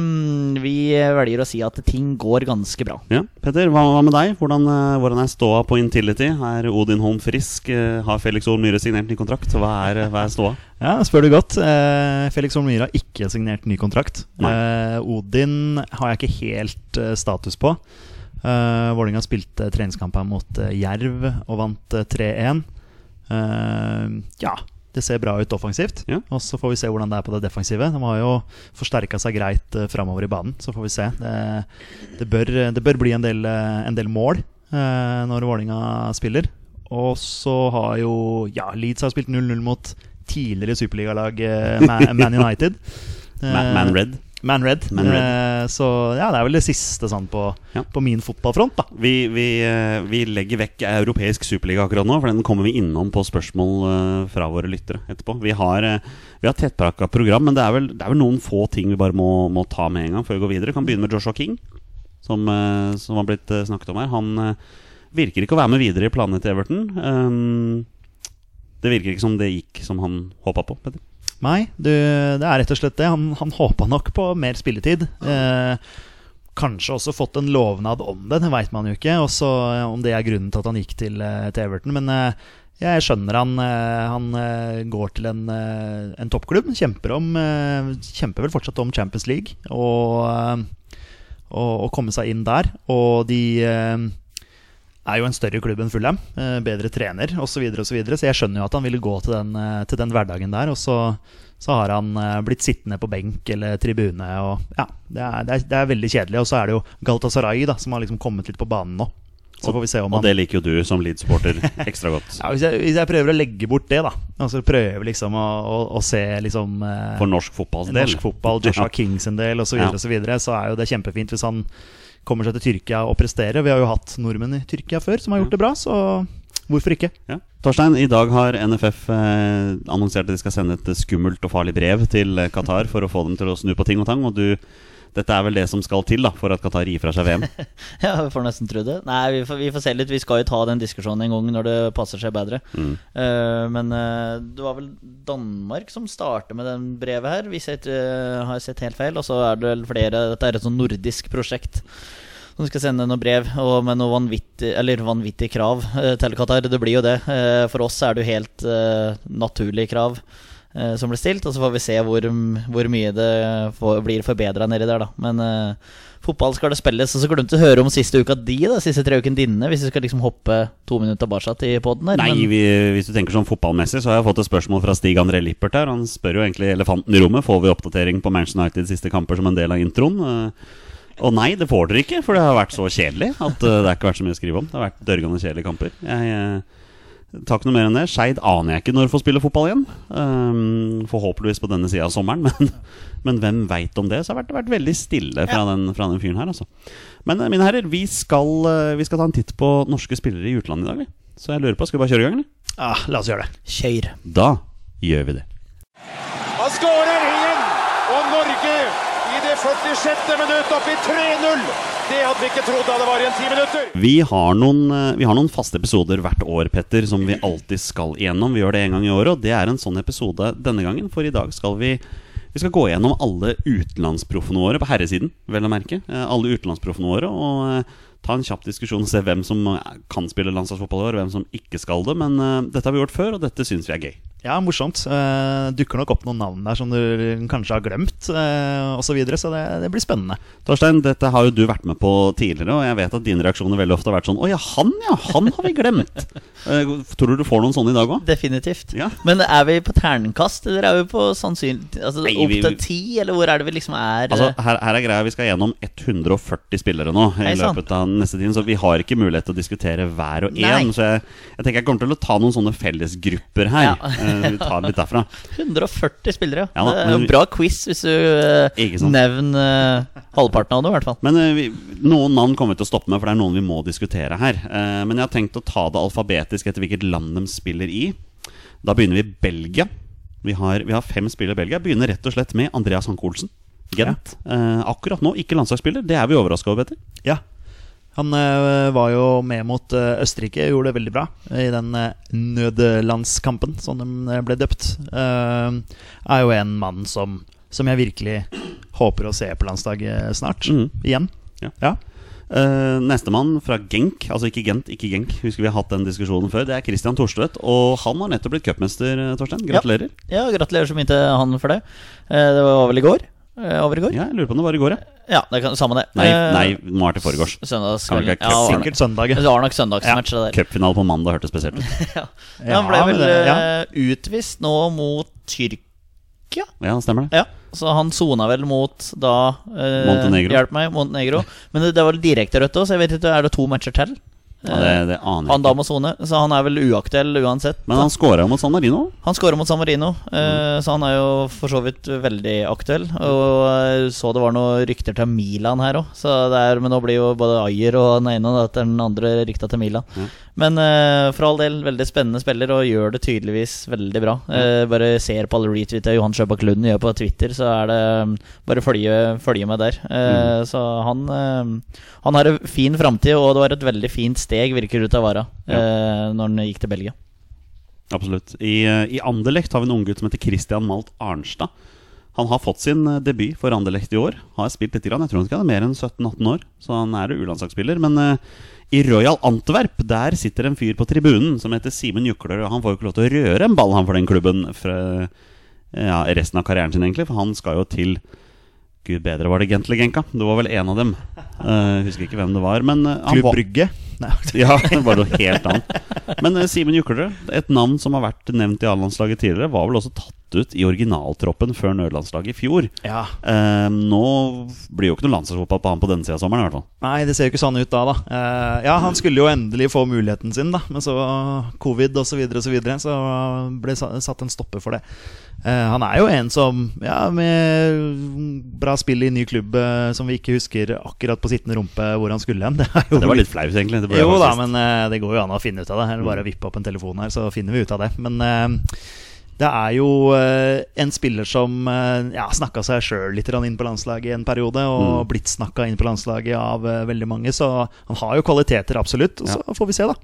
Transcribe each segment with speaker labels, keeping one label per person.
Speaker 1: vi velger å si at ting går ganske bra.
Speaker 2: Ja, Petter, hva, hva med deg? Hvordan, eh, hvordan er ståa på Intility? Er Odin Holm frisk? Eh, Har Felix Ohl Myhre signert ny kontrakt? Hva er, hva er ståa?
Speaker 3: Ja, spør du godt. Eh, Felix Holm Myhre har ikke signert ny kontrakt.
Speaker 2: Nei.
Speaker 3: Eh, Odin har jeg ikke helt eh, status på. Eh, Vålinga spilte treningskampen mot eh, Jerv og vant eh, 3-1. Eh, ja, det ser bra ut offensivt.
Speaker 2: Ja.
Speaker 3: Og så får vi se hvordan det er på det defensive. De har jo forsterka seg greit eh, framover i banen, så får vi se. Det, det, bør, det bør bli en del, eh, en del mål eh, når Vålinga spiller. Og så har jo ja, Leeds har spilt 0-0 mot tidligere superligalag eh, Ma- Man United.
Speaker 2: Man,
Speaker 3: Eh,
Speaker 2: man Red?
Speaker 3: Man Red.
Speaker 2: Man
Speaker 3: Eh, så ja, det er vel det siste sånn på,
Speaker 2: Ja.
Speaker 3: på min fotballfront, da.
Speaker 2: Vi, vi, eh, vi legger vekk europeisk superliga akkurat nå, for den kommer vi innom på spørsmål eh, fra våre lyttere etterpå. Vi har, eh, vi har tettpakka program, men det er, vel, det er vel noen få ting vi bare må, må ta med en gang før vi går videre. Kan begynne med Joshua King, som, eh, som har blitt eh, snakket om her. Han eh, virker ikke å være med videre i planene til Everton. Ehm, det virker ikke som det gikk som han håpa på. Petter.
Speaker 3: Nei, du, det er rett og slett det. Han, han håpa nok på mer spilletid. Eh, kanskje også fått en lovnad om det, det veit man jo ikke. Også eh, om det er grunnen til at han gikk til, eh, til Everton. Men eh, jeg skjønner han. Eh, han eh, går til en, eh, en toppklubb. Kjemper, om, eh, kjemper vel fortsatt om Champions League. Og eh, å, å komme seg inn der. Og de eh, er jo en større klubb enn Fulham. Eh, bedre trener osv. Så, videre, og så, videre. så jeg skjønner jo at han ville gå til den, eh, til den hverdagen der. Og så, så har han eh, blitt sittende på benk eller tribune. Og, ja, det er, det, er, det er veldig kjedelig. Og så er det jo Galatasaray da, som har liksom kommet litt på banen nå. Så får vi se om
Speaker 2: Og
Speaker 3: han
Speaker 2: det liker jo du som Leeds-supporter ekstra godt.
Speaker 3: ja, hvis, jeg, hvis jeg prøver å legge bort det, da. Altså prøver liksom å, å, å se liksom eh,
Speaker 2: For norsk fotballs del.
Speaker 3: Norsk fotball, Joshua Kings en del osv.,
Speaker 2: Ja.
Speaker 3: videre og så, videre, så er jo det kjempefint hvis han kommer seg til Tyrkia og presterer. Vi har jo hatt nordmenn i Tyrkia før som har gjort det bra, så hvorfor ikke?
Speaker 2: Ja. Torstein, i dag har NFF eh, annonsert at de skal sende et skummelt og farlig brev til eh, Qatar for å få dem til å snu på ting og tang. Og du, dette er vel det som skal til da, for at Qatar gir fra seg VM.
Speaker 1: Ja, vi får nesten tro det. Nei, vi får, vi får se litt. Vi skal jo ta den diskusjonen en gang når det passer seg bedre. Eh, men eh, det var vel Danmark som startet med den brevet her, hvis jeg ikke eh, har sett helt feil. Og så er det vel flere Dette er et sånn nordisk prosjekt. Som skal sende noen brev og med noe vanvittig, eller vanvittig krav eh, til Qatar. Det blir jo det. Eh, For oss er det jo helt eh, naturlige krav. eh, som ble stilt. Og så får vi se hvor, hvor mye det får, blir forbedra nedi der, da. Men eh, fotball skal det spilles. Og så glemte du å høre om siste uka di, da. Siste tre ukene dine, hvis du skal liksom hoppe to minutter tilbake i poden her.
Speaker 2: Nei,
Speaker 1: men-
Speaker 2: vi, hvis du tenker sånn fotballmessig, så har jeg fått et spørsmål fra Stig André Lippert her. Han spør jo egentlig elefanten i rommet. Får vi oppdatering på Manchester Uniteds siste kamper som en del av introen? Eh, Og nei, det får dere ikke, for det har vært så kjedelig at eh, det har ikke vært så mye å skrive om. Det har vært dørgende kjedelige kamper. Jeg eh, tar ikke noe mer enn det. Skeid aner jeg ikke når får spille fotball igjen. Um, forhåpentligvis på denne sida av sommeren, men, men hvem veit om det? Så har det vært, vært veldig stille fra, den, fra den fyren her, altså. Men eh, mine herrer, vi skal, eh, vi skal ta en titt på norske spillere i utlandet i dag, vi. Så jeg lurer på, skal vi bare kjøre i gang, eller?
Speaker 3: Ah, la oss gjøre det.
Speaker 1: Kjør.
Speaker 2: Da gjør vi det.
Speaker 4: Han skårer igjen! Og Norge i det 46. minutt opp i 3-0! Det hadde vi ikke trodd hadde vært igjen ti minutter.
Speaker 2: Vi har, noen, eh, vi har noen faste episoder hvert år, Petter, som vi alltid skal igjennom. Vi gjør det en gang i året, og det er en sånn episode denne gangen. For i dag skal vi, vi skal gå gjennom alle utenlandsproffene våre, på herresiden, vel å merke. eh, Alle utenlandsproffene våre, og eh, ta en kjapp diskusjon og se hvem som eh, kan spille landslagsfotball i år, og hvem som ikke skal det. Men eh, dette har vi gjort før, og dette syns vi er gøy.
Speaker 3: Ja, morsomt. Eh, dukker nok opp noen navn der som du kanskje har glemt, eh, og så videre, så det, det blir spennende.
Speaker 2: Torstein, dette har jo du vært med på tidligere, og jeg vet at dine reaksjoner veldig ofte har vært sånn Å ja, han ja, han har vi glemt. Eh, tror du du får noen sånne i dag òg?
Speaker 1: Definitivt.
Speaker 2: Ja.
Speaker 1: Men er vi på terningkast, eller er vi på sannsynlig altså,
Speaker 2: Nei,
Speaker 1: opp
Speaker 2: vi-
Speaker 1: til ti, eller hvor er det vi liksom er
Speaker 2: Altså, her, her er greia, Vi skal gjennom 140 spillere nå i
Speaker 1: Hei, sant.
Speaker 2: løpet av neste tiden, så vi har ikke mulighet til å diskutere hver og
Speaker 1: Nei.
Speaker 2: en. Så jeg, jeg tenker jeg kommer til å ta noen sånne fellesgrupper her.
Speaker 1: Ja.
Speaker 2: Eh, vi tar litt derfra.
Speaker 1: 140 spillere.
Speaker 2: Ja da,
Speaker 1: det er
Speaker 2: men-
Speaker 1: en bra quiz hvis du eh,
Speaker 2: Ikke sant.
Speaker 1: nevner eh, halvparten av det, i hvert fall.
Speaker 2: Men eh, vi, noen navn kommer vi til å stoppe med, for det er noen vi må diskutere her. Eh, men jeg har tenkt å ta det alfabetisk etter hvilket land de spiller i. Da begynner vi Belgia. Vi har, vi har fem spillere i Belgia. Begynner rett og slett med Andreas Hanke Olsen. Gent. Eh, akkurat nå ikke landslagsspiller. Det er vi overraska over, Petter.
Speaker 3: Ja. Han eh, var jo med mot eh, Østerrike, gjorde det veldig bra i den eh, nødlandskampen, som den eh, ble døpt. Eh, er jo en mann som, som jeg virkelig håper å se på landslaget snart.
Speaker 2: Mhm.
Speaker 3: Igjen.
Speaker 2: Ja. Uh, Nestemann fra Genk, altså ikke Gent, ikke Genk, husker vi har hatt den diskusjonen før, det er Christian Thorstvedt. Og han har nettopp blitt cupmester, eh, Torstein. Gratulerer.
Speaker 1: Ja, gratulerer så mye til han for det. Eh, Det var vel i går? Eh, Over i går?
Speaker 2: Ja, jeg lurer på om det var i går, jeg.
Speaker 1: Ja, det kan, samme det.
Speaker 2: Nei,
Speaker 1: Eh,
Speaker 2: nei, nå er det til foregårs. Kan vi
Speaker 1: Søndagskvelden.
Speaker 2: ikke ha
Speaker 1: Ja, det var-
Speaker 3: Sikkert søndag.
Speaker 2: Altså-
Speaker 1: det var nok søndagsmatch, det der.
Speaker 2: Cupfinale på mandag hørtes spesielt ut.
Speaker 1: Ja.
Speaker 3: Ja,
Speaker 1: Han ble vel
Speaker 3: men det- ja.
Speaker 1: eh, utvist nå mot Tyrkia.
Speaker 2: Ja, stemmer det.
Speaker 1: Ja, så han sona vel mot da eh,
Speaker 2: Montenegro.
Speaker 1: Hjelp meg, Montenegro. Men det, det var vel direkte rødt òg, så jeg vet ikke, er det to matcher til?
Speaker 2: Ja, det, det aner
Speaker 1: Han
Speaker 2: jeg
Speaker 1: da
Speaker 2: ikke.
Speaker 1: må sone, så han er vel uaktuell uansett.
Speaker 2: Men han scora jo mot San Marino.
Speaker 1: Han skårer mot San Marino, eh, så han er jo for så vidt veldig aktuell. Og jeg så det var noen rykter til Milan her òg, men nå blir jo både Ayer og den ene og den andre rykta til Milan. Men eh, for all del, veldig spennende spiller og gjør det tydeligvis veldig bra. Eh, bare ser på alle retweeta Johan Sjøbakk Lund gjør på Twitter, så er det mm, bare følge, følge med der. Eh, Så han, eh, han har en fin framtid, og det var et veldig fint steg, virker det ut til å være,
Speaker 2: Ja.
Speaker 1: eh, når han gikk til Belgia.
Speaker 2: Absolutt. I, eh, I Anderlecht har vi en unggutt som heter Christian Malt Arnstad. Han har fått sin eh, debut for Anderlecht i år. Har spilt litt, grann. jeg tror han ikke han er mer enn 17-18 år, så han er U-landslagsspiller. Men eh, i Royal Antwerp der sitter en fyr på tribunen som heter Simen Juklerød. og Han får jo ikke lov til å røre en ball, han, for den klubben fra eh, ja, resten av karrieren sin, egentlig. For han skal jo til Gud bedre, var det Gent eller Genka? Det var vel en av dem. Eh, husker ikke hvem det var. Men eh, han
Speaker 3: Klubb
Speaker 2: var
Speaker 3: Brygge. Nei,
Speaker 2: ja, det var noe helt annet. Men eh, Simen Juklerød, et navn som har vært nevnt i A-landslaget tidligere, var vel også tatt ut i originaltroppen før nødlandslaget i fjor.
Speaker 3: ja.
Speaker 2: Eh, nå blir jo ikke noe landslagsfotball på han på denne sida av sommeren, i hvert fall.
Speaker 3: Nei, det ser jo ikke sånn ut da, da. Eh, ja, han skulle jo endelig få muligheten sin, da, men så covid og så videre og så videre, så ble sa- satt en stopper for det. Eh, han er jo en som, ja, med bra spill i ny klubb eh, som vi ikke husker akkurat på sittende rumpe hvor han skulle hen. Det er jo
Speaker 2: Det var litt flaut, egentlig. Det ble
Speaker 3: jo da,
Speaker 2: faktisk- Mm.
Speaker 3: men eh, det går jo an å finne ut av det. Eller bare vippe opp en telefon her, så finner vi ut av det. Men eh, det er jo eh, en spiller som eh, ja, snakka seg sjøl litt grann inn på landslaget i en periode,
Speaker 2: Mm.
Speaker 3: og blitt snakka inn på landslaget av eh, veldig mange, så han har jo kvaliteter, absolutt. Og så får vi se, da.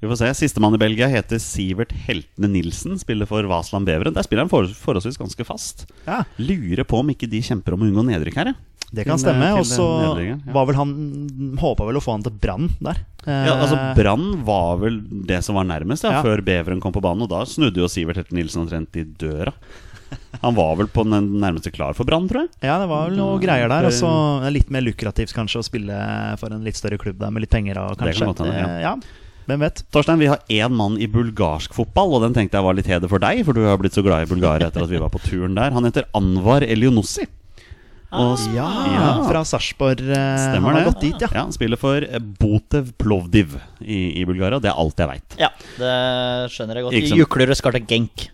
Speaker 2: Vi får se. Sistemann i Belgia heter Sivert Heltene Nilsen. Spiller for Vasland Beveren. Der spiller han for, forholdsvis ganske fast.
Speaker 3: Ja.
Speaker 2: Lurer på om ikke de kjemper om å unngå nedrykk her, jeg.
Speaker 3: Det kan
Speaker 2: Til-
Speaker 3: stemme.
Speaker 2: til
Speaker 3: Og så
Speaker 2: nedleggeren, eh, ja.
Speaker 3: var vel han Håpa vel å få han til Brann der. Eh,
Speaker 2: Ja, altså Brann var vel det som var nærmest, ja,
Speaker 3: Ja.
Speaker 2: før Beveren kom på banen. Og da snudde jo Sivert Helten Nilsen omtrent i døra. Han var vel på den nærmeste klar for Brann, tror jeg.
Speaker 3: ja, det var vel noe
Speaker 2: Mm,
Speaker 3: greier der. Og så er det litt mer lukrativt kanskje å spille for en litt større klubb der med litt penger og
Speaker 2: Det
Speaker 3: kanskje.
Speaker 2: kan godt hende, ja.
Speaker 3: Eh, ja. Hvem vet.
Speaker 2: Torstein, vi har én mann i bulgarsk fotball, og den tenkte jeg var litt heder for deg, for du har blitt så glad i Bulgaria etter at vi var på turen der. Han heter Anvar Elionossi.
Speaker 1: Eh,
Speaker 2: Og sp-
Speaker 3: Ja,
Speaker 2: Ja.
Speaker 3: fra Sarpsborg. eh,
Speaker 2: Stemmer
Speaker 3: han har
Speaker 2: det.
Speaker 3: gått dit, ja.
Speaker 2: ja, han spiller for eh, Botev Plovdiv i, i Bulgaria. Det er alt jeg veit.
Speaker 1: Ja, det skjønner jeg godt.
Speaker 2: Ikke sant?
Speaker 1: Juklerud skal til Genk.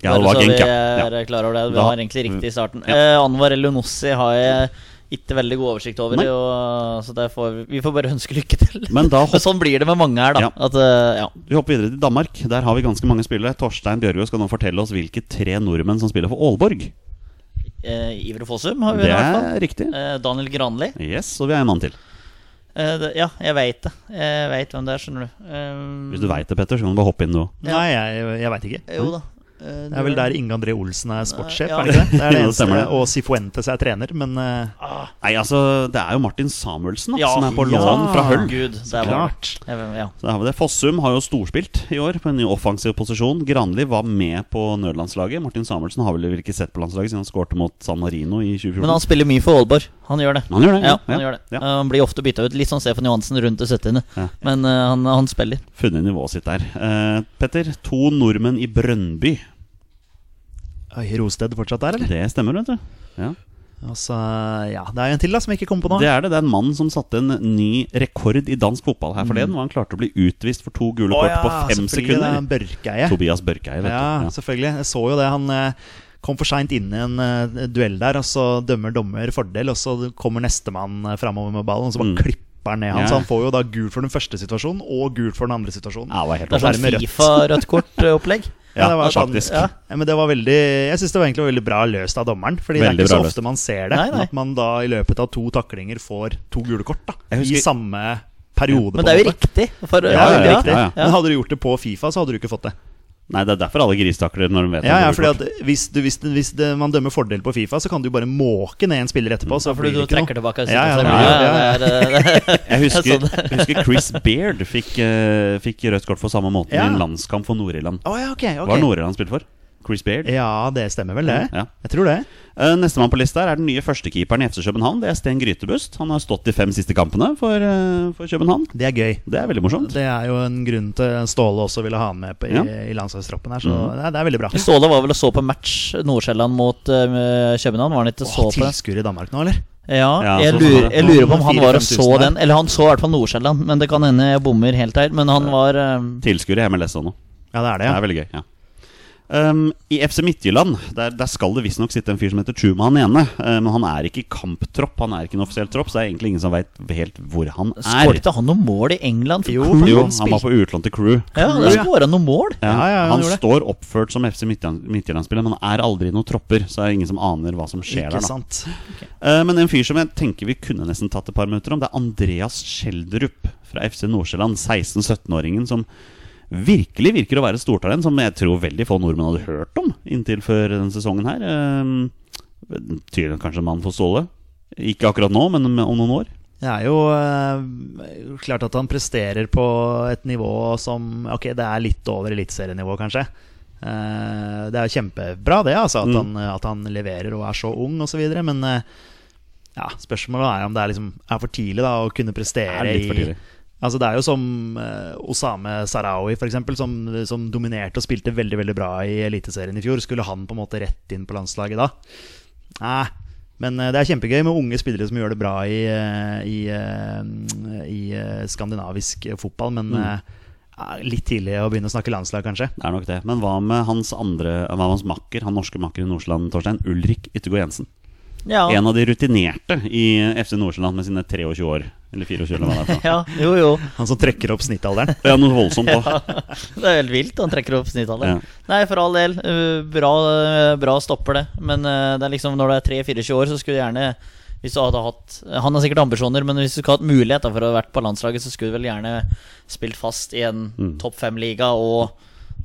Speaker 2: Ja, det
Speaker 1: Bare
Speaker 2: var
Speaker 1: så
Speaker 2: Genk,
Speaker 1: vi eh,
Speaker 2: ja. ja.
Speaker 1: er klar over det. Vi
Speaker 2: Da- Mm.
Speaker 1: har egentlig riktig i starten.
Speaker 2: Ja.
Speaker 1: Eh, Anwar Elionossi har jeg ikke veldig god oversikt over,
Speaker 2: Nei.
Speaker 1: og, så der får vi, vi får bare ønske lykke til.
Speaker 2: Men da hopp-
Speaker 1: sånn blir det med mange her, da.
Speaker 2: Ja.
Speaker 1: At, eh, ja.
Speaker 2: Vi hopper videre til Danmark. Der har vi ganske mange spillere. Torstein Bjørgo skal nå fortelle oss hvilke tre nordmenn som spiller for Aalborg.
Speaker 1: Eh, Iver Fossum har vi
Speaker 2: Det
Speaker 1: i hvert fall.
Speaker 2: er riktig.
Speaker 1: Eh, Daniel Granli.
Speaker 2: Yes, og vi har en mann til.
Speaker 1: Eh, det, ja, jeg veit det. Jeg veit hvem det er, skjønner du. Eh,
Speaker 2: Hvis du veit det, Petter, så kan du bare hoppe inn nå.
Speaker 1: Ja.
Speaker 3: Nei, jeg, jeg veit ikke.
Speaker 1: eh, Jo da. Eh,
Speaker 3: Det er vel der Inge André Olsen er sportssjef,
Speaker 1: Ja.
Speaker 3: er det ikke det? Det er det
Speaker 2: Ja, det
Speaker 3: eneste.
Speaker 2: stemmer det.
Speaker 3: Og Sifuentes er trener, men eh,
Speaker 2: Nei, altså, det er jo Martin Samuelsen da,
Speaker 1: Ja.
Speaker 2: som er på
Speaker 1: Ja.
Speaker 2: lån fra Høll.
Speaker 1: Gud, der var det.
Speaker 3: klart.
Speaker 1: Jeg- Ja.
Speaker 2: Så der har vi det. Fossum har jo storspilt i år på en ny offensiv posisjon. Granli var med på nødlandslaget. Martin Samuelsen har vel ikke sett på landslaget siden han skårte mot San Marino i 2014.
Speaker 1: Men han spiller mye for Aalborg. Han gjør det.
Speaker 2: Han gjør det,
Speaker 1: Ja,
Speaker 2: ja.
Speaker 1: han,
Speaker 2: Ja,
Speaker 1: gjør det.
Speaker 2: ja.
Speaker 1: Eh, han blir ofte bytta ut. Litt sånn Stefan Johansen rundt det 70.
Speaker 2: Ja.
Speaker 1: Men eh, han, han spiller.
Speaker 2: funnet nivået sitt der. Eh, Petter, to nordmenn i Brønnby.
Speaker 3: Oi, Rosted fortsatt der, eller?
Speaker 2: Det stemmer, vet du. Ja.
Speaker 3: Altså, ja, Det er en til da som jeg ikke kom på nå.
Speaker 2: Det er det. Det er en mann som satte en ny rekord i dansk fotball her forleden. Og han klarte å bli utvist for to gule
Speaker 3: Å
Speaker 2: kort
Speaker 3: ja,
Speaker 2: på fem
Speaker 3: selvfølgelig, Det er
Speaker 2: sekunder.
Speaker 3: en Børkeie.
Speaker 2: Tobias Børkeie, vet
Speaker 3: Ja,
Speaker 2: du.
Speaker 3: selvfølgelig. Jeg så jo det. Han eh, kom for seint inn i en eh, duell der, og så dømmer dommer fordel, og så kommer nestemann eh, framover med ballen, og så bare
Speaker 2: Mm.
Speaker 3: klipper han ned han.
Speaker 2: Ja.
Speaker 3: Så han får jo da gult for den første situasjonen, og gult for den andre situasjonen.
Speaker 2: Ja, det var helt
Speaker 1: Det er
Speaker 3: Og dermed
Speaker 1: sånn
Speaker 3: rødt.
Speaker 1: Fifa-rødt kort-opplegg.
Speaker 2: Ja,
Speaker 3: det var sånn-
Speaker 2: faktisk.
Speaker 3: Ja. men det var veldig, jeg syns det var egentlig veldig bra løst av dommeren. Fordi det
Speaker 2: Veldig
Speaker 3: er ikke så
Speaker 2: bra løst.
Speaker 3: ofte man ser det.
Speaker 1: Nei, nei.
Speaker 3: At man da i løpet av to taklinger får to gule kort da,
Speaker 2: Jeg husker-
Speaker 3: i samme periode.
Speaker 1: Men det er
Speaker 3: på en
Speaker 1: jo
Speaker 3: måte.
Speaker 1: riktig. For,
Speaker 2: Ja, ja,
Speaker 1: ja.
Speaker 2: riktig, ja, ja.
Speaker 3: Men hadde du gjort det på Fifa, så hadde du ikke fått det.
Speaker 2: Nei, det er derfor alle gristakler når de vet
Speaker 3: Ja, ja,
Speaker 2: om
Speaker 3: fordi
Speaker 2: gule kort.
Speaker 3: at hvis, du, hvis, hvis det, man dømmer fordel på Fifa, så kan du bare måke ned en spiller etterpå. Så
Speaker 1: Ja, fordi du
Speaker 3: blir det ikke
Speaker 1: trekker
Speaker 3: noe.
Speaker 1: tilbake.
Speaker 3: Ja, ja,
Speaker 1: sikkert.
Speaker 2: ja,
Speaker 3: ja, ja.
Speaker 1: det er, eh, det er-
Speaker 2: Jeg husker,
Speaker 1: Sånn.
Speaker 2: jeg husker Chris Baird fikk, eh, fikk rødt kort for samme måten i
Speaker 3: Ja.
Speaker 2: en landskamp for Nord-Irland.
Speaker 3: Å ja, ok, ok. Eh.
Speaker 2: Hva har Nord-Irland spilt for? Chris Baird?
Speaker 3: Ja, det stemmer vel, det.
Speaker 2: Mm, Ja.
Speaker 3: Jeg tror det.
Speaker 2: Eh, Nestemann på lista her er den nye førstekeeperen i FC København. Det er Sten Grytebust. Han har stått de fem siste kampene for, eh, for København.
Speaker 3: Det er gøy.
Speaker 2: Det er veldig morsomt.
Speaker 3: Det er jo en grunn til Ståle også ville ha han med på, i,
Speaker 2: Ja. Mm.
Speaker 3: i landslagstroppen her, så det, er, det er veldig bra.
Speaker 1: Ståle var vel og så på match Nordsjælland mot eh, København. Var han ikke så
Speaker 3: Åh,
Speaker 1: på det?
Speaker 3: tilskuere i Danmark nå, eller?
Speaker 1: Ja,
Speaker 2: Ja,
Speaker 1: jeg
Speaker 2: så-
Speaker 1: lurer, jeg lurer på om han var og
Speaker 3: 4000-5000
Speaker 1: så
Speaker 3: der.
Speaker 1: den. Eller han så i hvert fall Nordsjælland, men det kan hende jeg bommer helt her. Men han var eh,
Speaker 2: Tilskuere i MLS nå.
Speaker 3: Ja, det er det.
Speaker 2: Det
Speaker 3: ja
Speaker 2: er veldig gøy. ja Um, I FC Midtjylland der, der skal det visstnok sitte en fyr som heter Truman ene. eh, men han er ikke i kamptropp, han er ikke en offisiell tropp, så det er egentlig ingen som veit helt hvor han er.
Speaker 1: Skåret han noe mål i England? For
Speaker 3: Jo,
Speaker 1: Crew?
Speaker 2: Jo,
Speaker 3: han
Speaker 2: han var på utlån til Crew.
Speaker 1: Ja,
Speaker 3: Crew,
Speaker 1: der
Speaker 3: ja.
Speaker 1: skåra han noe mål.
Speaker 2: Ja,
Speaker 3: Ja, ja, han
Speaker 2: han
Speaker 3: gjorde det.
Speaker 2: står oppført som FC Midtjylland- Midtjylland-spiller, men han er aldri i noen tropper, så det er ingen som aner hva som skjer
Speaker 3: Ikke
Speaker 2: der. da
Speaker 3: sant.
Speaker 2: Eh, Men en fyr som jeg tenker vi kunne nesten tatt et par minutter om, det er Andreas Schjelderup fra FC Nordsjælland. 16-17-åringen som virkelig virker å være et stortalent, som jeg tror veldig få nordmenn hadde hørt om inntil før denne sesongen her. Eh, Tydelig kanskje en mann for Ståle. Ikke akkurat nå, men om noen år.
Speaker 3: Det er jo eh, klart at han presterer på et nivå som Ok, det er litt over eliteserienivå, kanskje. Eh, det er jo kjempebra, det, altså, at,
Speaker 2: Mm.
Speaker 3: han, at han leverer og er så ung osv. Men eh, ja, spørsmålet er om det er, liksom, er for tidlig da å kunne prestere
Speaker 2: Det er litt for tidlig.
Speaker 3: i Altså Det er jo som eh, Osame Sarawi, for eksempel, som, som dominerte og spilte veldig veldig bra i Eliteserien i fjor. Skulle han på en måte rett inn på landslaget da? Nei. Men eh, det er kjempegøy med unge spillere som gjør det bra i, eh, i, eh, i eh, skandinavisk fotball. Men eh, ja, litt tidlig å begynne å snakke landslag, kanskje.
Speaker 2: Det er nok det. Men hva med hans andre Hva med hans makker, han norske makker i Nordsjælland, Torstein? Ulrik Yttergård Jensen.
Speaker 1: Ja.
Speaker 2: En av de rutinerte i FC Nordsjælland med sine 23 år. Eller 24, eller hva det er. for noe.
Speaker 1: ja, jo, jo.
Speaker 3: Han som trekker opp snittalderen.
Speaker 2: Det er noe voldsomt òg.
Speaker 1: Det er helt vilt. Han trekker opp snittallet.
Speaker 2: Ja.
Speaker 1: Nei, for all del. eh, Bra, eh, bra stopper det. Men eh, det er liksom når du er 3-24 år, så skulle du gjerne hvis du hadde hatt Han har sikkert ambisjoner, men hvis du skulle hatt mulighet da, for å ha vært på landslaget, så skulle du vel gjerne spilt fast i en topp fem-liga og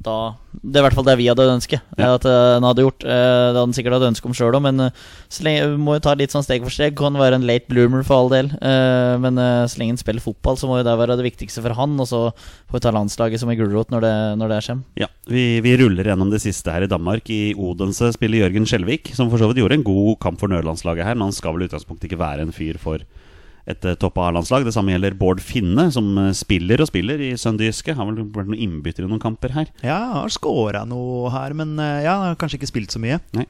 Speaker 1: da Det er i hvert fall det vi hadde ønsket
Speaker 2: Ja.
Speaker 1: at eh, han hadde gjort. Eh, det hadde han sikkert hatt ønske om sjøl òg, men eh, så lenge, vi må jo ta litt sånn steg for steg. Kan være en late bloomer for all del, eh, men eh, så lenge han spiller fotball, så må jo det være det viktigste for han. Og så får vi ta landslaget som en gulrot når det, når det kommer.
Speaker 2: Ja, vi, vi ruller gjennom det siste her i Danmark. I Odense spiller Jørgen Skjelvik, som for så vidt gjorde en god kamp for Nødlandslaget her, men han skal vel i utgangspunktet ikke være en fyr for et eh, topp A-landslag. Det samme gjelder Bård Finne, som eh, spiller og spiller i Sønderjyske. Har vel vært noen innbytter i noen kamper her.
Speaker 3: Ja, han har scora noe her, men eh, ja, han har kanskje ikke spilt så mye.
Speaker 2: Nei.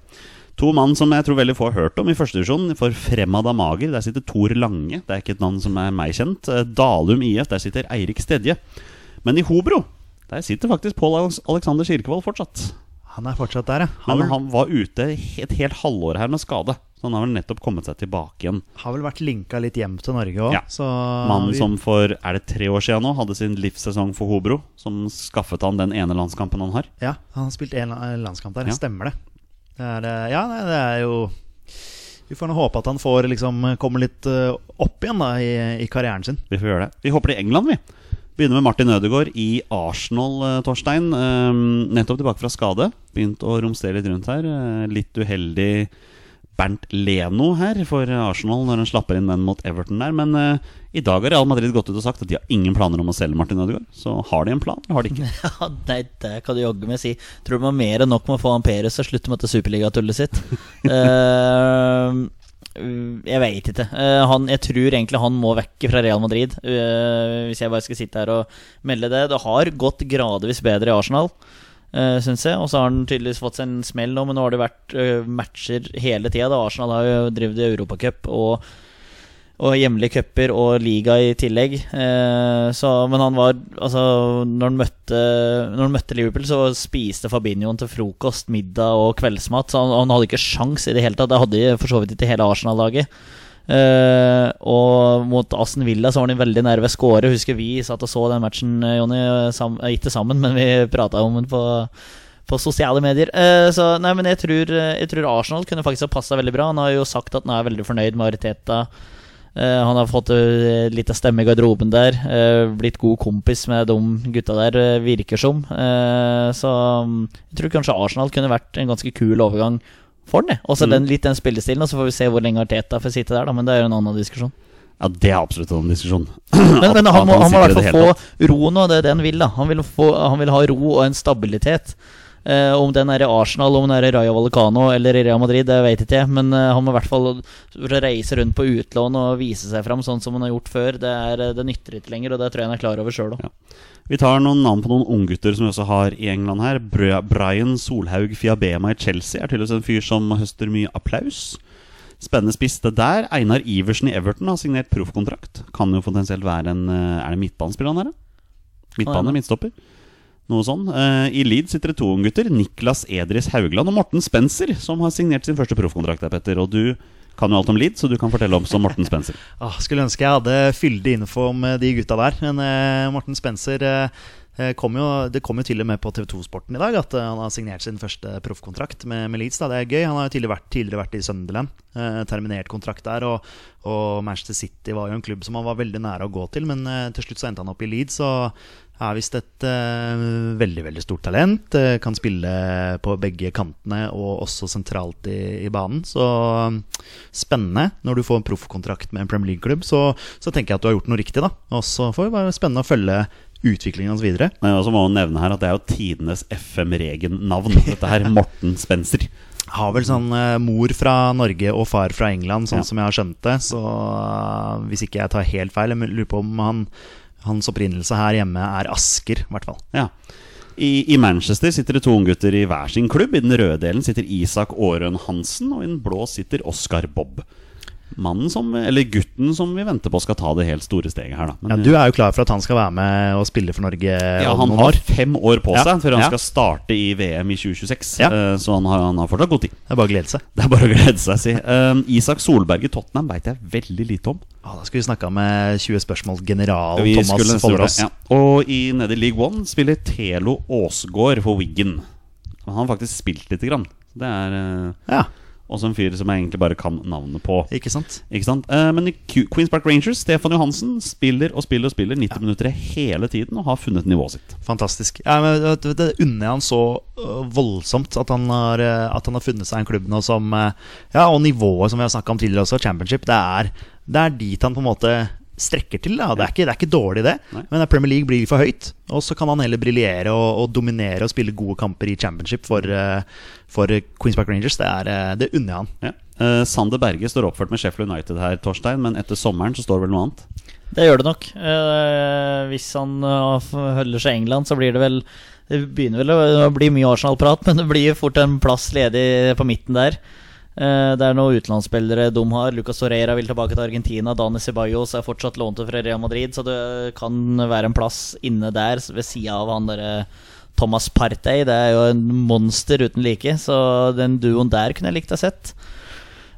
Speaker 2: To mann som jeg tror veldig få har hørt om i første divisjon. For Fremad av Mager, der sitter Tor Lange. Det er ikke et navn som er meg kjent. Eh, Dalum IF, der sitter Eirik Stedje. Men i Hobro, der sitter faktisk Pål Alex- Alexander Kirkevold fortsatt.
Speaker 3: Han er fortsatt der, ja. Han
Speaker 2: Men
Speaker 3: har vel-
Speaker 2: han var ute et helt halvår her med skade. Så han har vel nettopp kommet seg tilbake igjen.
Speaker 3: har vel vært linka litt hjem til Norge òg,
Speaker 2: Ja.
Speaker 3: så
Speaker 2: Mannen
Speaker 3: Ah, vi-
Speaker 2: som for er det tre år siden nå hadde sin livssesong for Hobro, som skaffet han den ene landskampen han har.
Speaker 3: Ja, han har spilt én landskamp der.
Speaker 2: Ja.
Speaker 3: Stemmer det. det er, eh, ja, nei, det er jo Vi får nå håpe at han får liksom kommer litt eh, opp igjen da i, i karrieren sin.
Speaker 2: Vi får gjøre det. Vi hopper til England, vi. Begynner med Martin Ødegaard i Arsenal, eh, Torstein. Ehm, nettopp tilbake fra skade. Begynt å romstere litt rundt her. Eh, litt uheldig Bernt Leno her for Arsenal når han slapper inn den mot Everton der. Men eh, i dag har Real Madrid gått ut og sagt at de har ingen planer om å selge Martin Ødegaard. Så har de en plan, eller har de ikke?
Speaker 1: Ja, nei, det kan du jogge med å si. Tror du må mer enn nok med å få han Perez til å slutte med dette superligatullet sitt? Eh, jeg veit ikke. Eh, han, jeg tror egentlig han må vekk fra Real Madrid. eh, hvis jeg bare skal sitte her og melde det. Det har gått gradvis bedre i Arsenal. Uh, synes jeg, Og så har han tydeligvis fått seg en smell nå, men nå har det vært eh, matcher hele tida. Arsenal har jo drevet i Europacup og og hjemlige cuper og liga i tillegg. Eh, så, men han var Altså, når han møtte, når han møtte Liverpool, så spiste Fabinhoen til frokost, middag og kveldsmat. Så han, han hadde ikke sjans i det hele tatt. Det hadde de for så vidt ikke hele Arsenal-laget. Eh, og mot Aston Villa så var han veldig nærme ved å score. Husker vi satt og så den matchen, eh, Jonny. Sam, eh, ikke sammen, men vi prata om den på på sosiale medier. Eh, så nei, men jeg tror, eh, jeg tror Arsenal kunne faktisk ha passa veldig bra. Han har jo sagt at han er veldig fornøyd med Ariteta. Eh, han har fått uh, litt av stemme i garderoben der. eh, blitt god kompis med de gutta der, eh, virker som. Eh, så mm, jeg tror kanskje Arsenal kunne vært en ganske kul overgang for den. jeg. Også den, litt den spillestilen, og så får vi se hvor lenge Arteta får sitte der, da. Men det er jo en annen diskusjon.
Speaker 2: Ja, det er absolutt en diskusjon.
Speaker 1: Men, men han, må, han må i hvert fall
Speaker 2: få
Speaker 1: få ro nå, det er det han vil. da Han vil, få, han vil ha ro og en stabilitet. Eh, om den er i Arsenal, om den er i Raja Vallecano eller i Real Madrid, det vet ikke jeg. Men eh, han må i hvert fall reise rundt på utlån og vise seg fram sånn som han har gjort før. Det, er, det nytter ikke lenger, og det tror jeg han er klar over sjøl òg.
Speaker 2: Ja. Vi tar noen navn på noen unggutter som vi også har i England her. Bra- Brian Solhaug Fiabema i Chelsea er tydeligvis en fyr som høster mye applaus. Spennende spiss det der. Einar Iversen i Everton har signert proffkontrakt. Kan jo potensielt være en eh, Er det midtbanespiller han er, da?
Speaker 1: Kan
Speaker 2: Midtbane,
Speaker 1: være.
Speaker 2: midtstopper. Noe sånn. Eh, I Leeds sitter det to unggutter. Niklas Edris Haugland og Morten Spencer, som har signert sin første proffkontrakt der, Petter. Og du kan jo alt om Leeds, så du kan fortelle om som Morten Spencer.
Speaker 3: Ah, skulle ønske jeg hadde fyldig info om eh, de gutta der. Men eh, Morten Spencer eh, eh, kom jo, Det kom jo til og med på TV 2-sporten i dag at eh, han har signert sin første proffkontrakt med, med Leeds. Da. Det er gøy. Han har jo tidligere vært, tidligere vært i Sunderland. Eh, terminert kontrakt der. Og, og Manchester City var jo en klubb som han var veldig nære å gå til, men eh, til slutt så endte han opp i Leeds. Og er visst et eh, veldig veldig stort talent. Eh, kan spille på begge kantene og også sentralt i, i banen. Så mm, spennende. Når du får en proffkontrakt med en Premier League-klubb, så, så tenker jeg at du har gjort noe riktig. da Og så får det være spennende å følge utviklingen hans videre.
Speaker 2: Men jeg også må nevne her at det er jo tidenes FM-Regen-navn. Dette her, Morten Spencer.
Speaker 3: Har vel sånn eh, mor fra Norge og far fra England, sånn
Speaker 2: Ja.
Speaker 3: som jeg har skjønt det. Så eh, hvis ikke jeg tar helt feil, jeg lurer på om han, hans opprinnelse her hjemme er Asker, i hvert fall.
Speaker 2: Ja. I, I Manchester sitter det to unggutter i hver sin klubb. I den røde delen sitter Isak Aarøen Hansen, og i den blå sitter Oskar Bob. Mannen som, eller gutten som vi venter på skal ta det helt store steget her, da. Men,
Speaker 3: Ja, du er jo klar for at han skal være med og spille for Norge
Speaker 2: ja,
Speaker 3: om
Speaker 2: han
Speaker 3: noen
Speaker 2: har
Speaker 3: år.
Speaker 2: fem år på
Speaker 3: Ja,
Speaker 2: seg før han
Speaker 3: ja.
Speaker 2: skal starte i VM i 2026,
Speaker 3: Ja.
Speaker 2: eh, så han har, han har fortsatt god tid.
Speaker 3: Det er bare å glede seg.
Speaker 2: Det er bare å glede seg, si. Eh, Isak Solberg i Tottenham veit jeg veldig lite om.
Speaker 3: Å, Ah, da skulle vi snakka med 20 spørsmål general
Speaker 2: Vi skulle
Speaker 3: Thomas Follerås.
Speaker 2: stole- Ja. Og i, nede i League One spiller Telo Aasgaard for Wiggen. Han har faktisk spilt lite grann. Det er eh,
Speaker 3: Ja.
Speaker 2: Også en fyr som jeg egentlig bare kan navnet på.
Speaker 3: Ikke sant?
Speaker 2: Ikke sant? Eh, men i Q Queens Park Rangers, Stefan Johansen, spiller og spiller og spiller 90 minutter hele tiden og har funnet nivået sitt.
Speaker 3: Fantastisk. Ja, men vet du, det unner jeg han så øh, voldsomt. At han, har, øh, at han har funnet seg en klubb nå som øh, Ja, og nivået som vi har snakka om tidligere også, championship, det er, det er dit han på en måte strekker til. Da. Det, er ikke, det er ikke dårlig, det.
Speaker 2: Nei.
Speaker 3: Men Premier League blir for høyt. Og så kan han heller briljere og, og dominere og spille gode kamper i championship for, øh, for øh, Queens Park Rangers. Det, er, øh, det unner jeg han.
Speaker 2: Ja. Eh, Sander Berge står oppført med Sheffield United her, Torstein, men etter sommeren så står det vel noe annet?
Speaker 1: Det gjør det nok. Eh, hvis han eh, f- holder seg i England, så blir det vel Det begynner vel å bli mye Arsenal-prat, men det blir fort en plass ledig på midten der. Eh, det er noen utenlandsspillere de har. Lucas Torreira vil tilbake til Argentina. Dani Ceballos er fortsatt lånt ut fra Real Madrid, så det kan være en plass inne der s- ved sida av han derre Thomas Partey. Det er jo en monster uten like, så den duoen der kunne jeg likt å ha sett.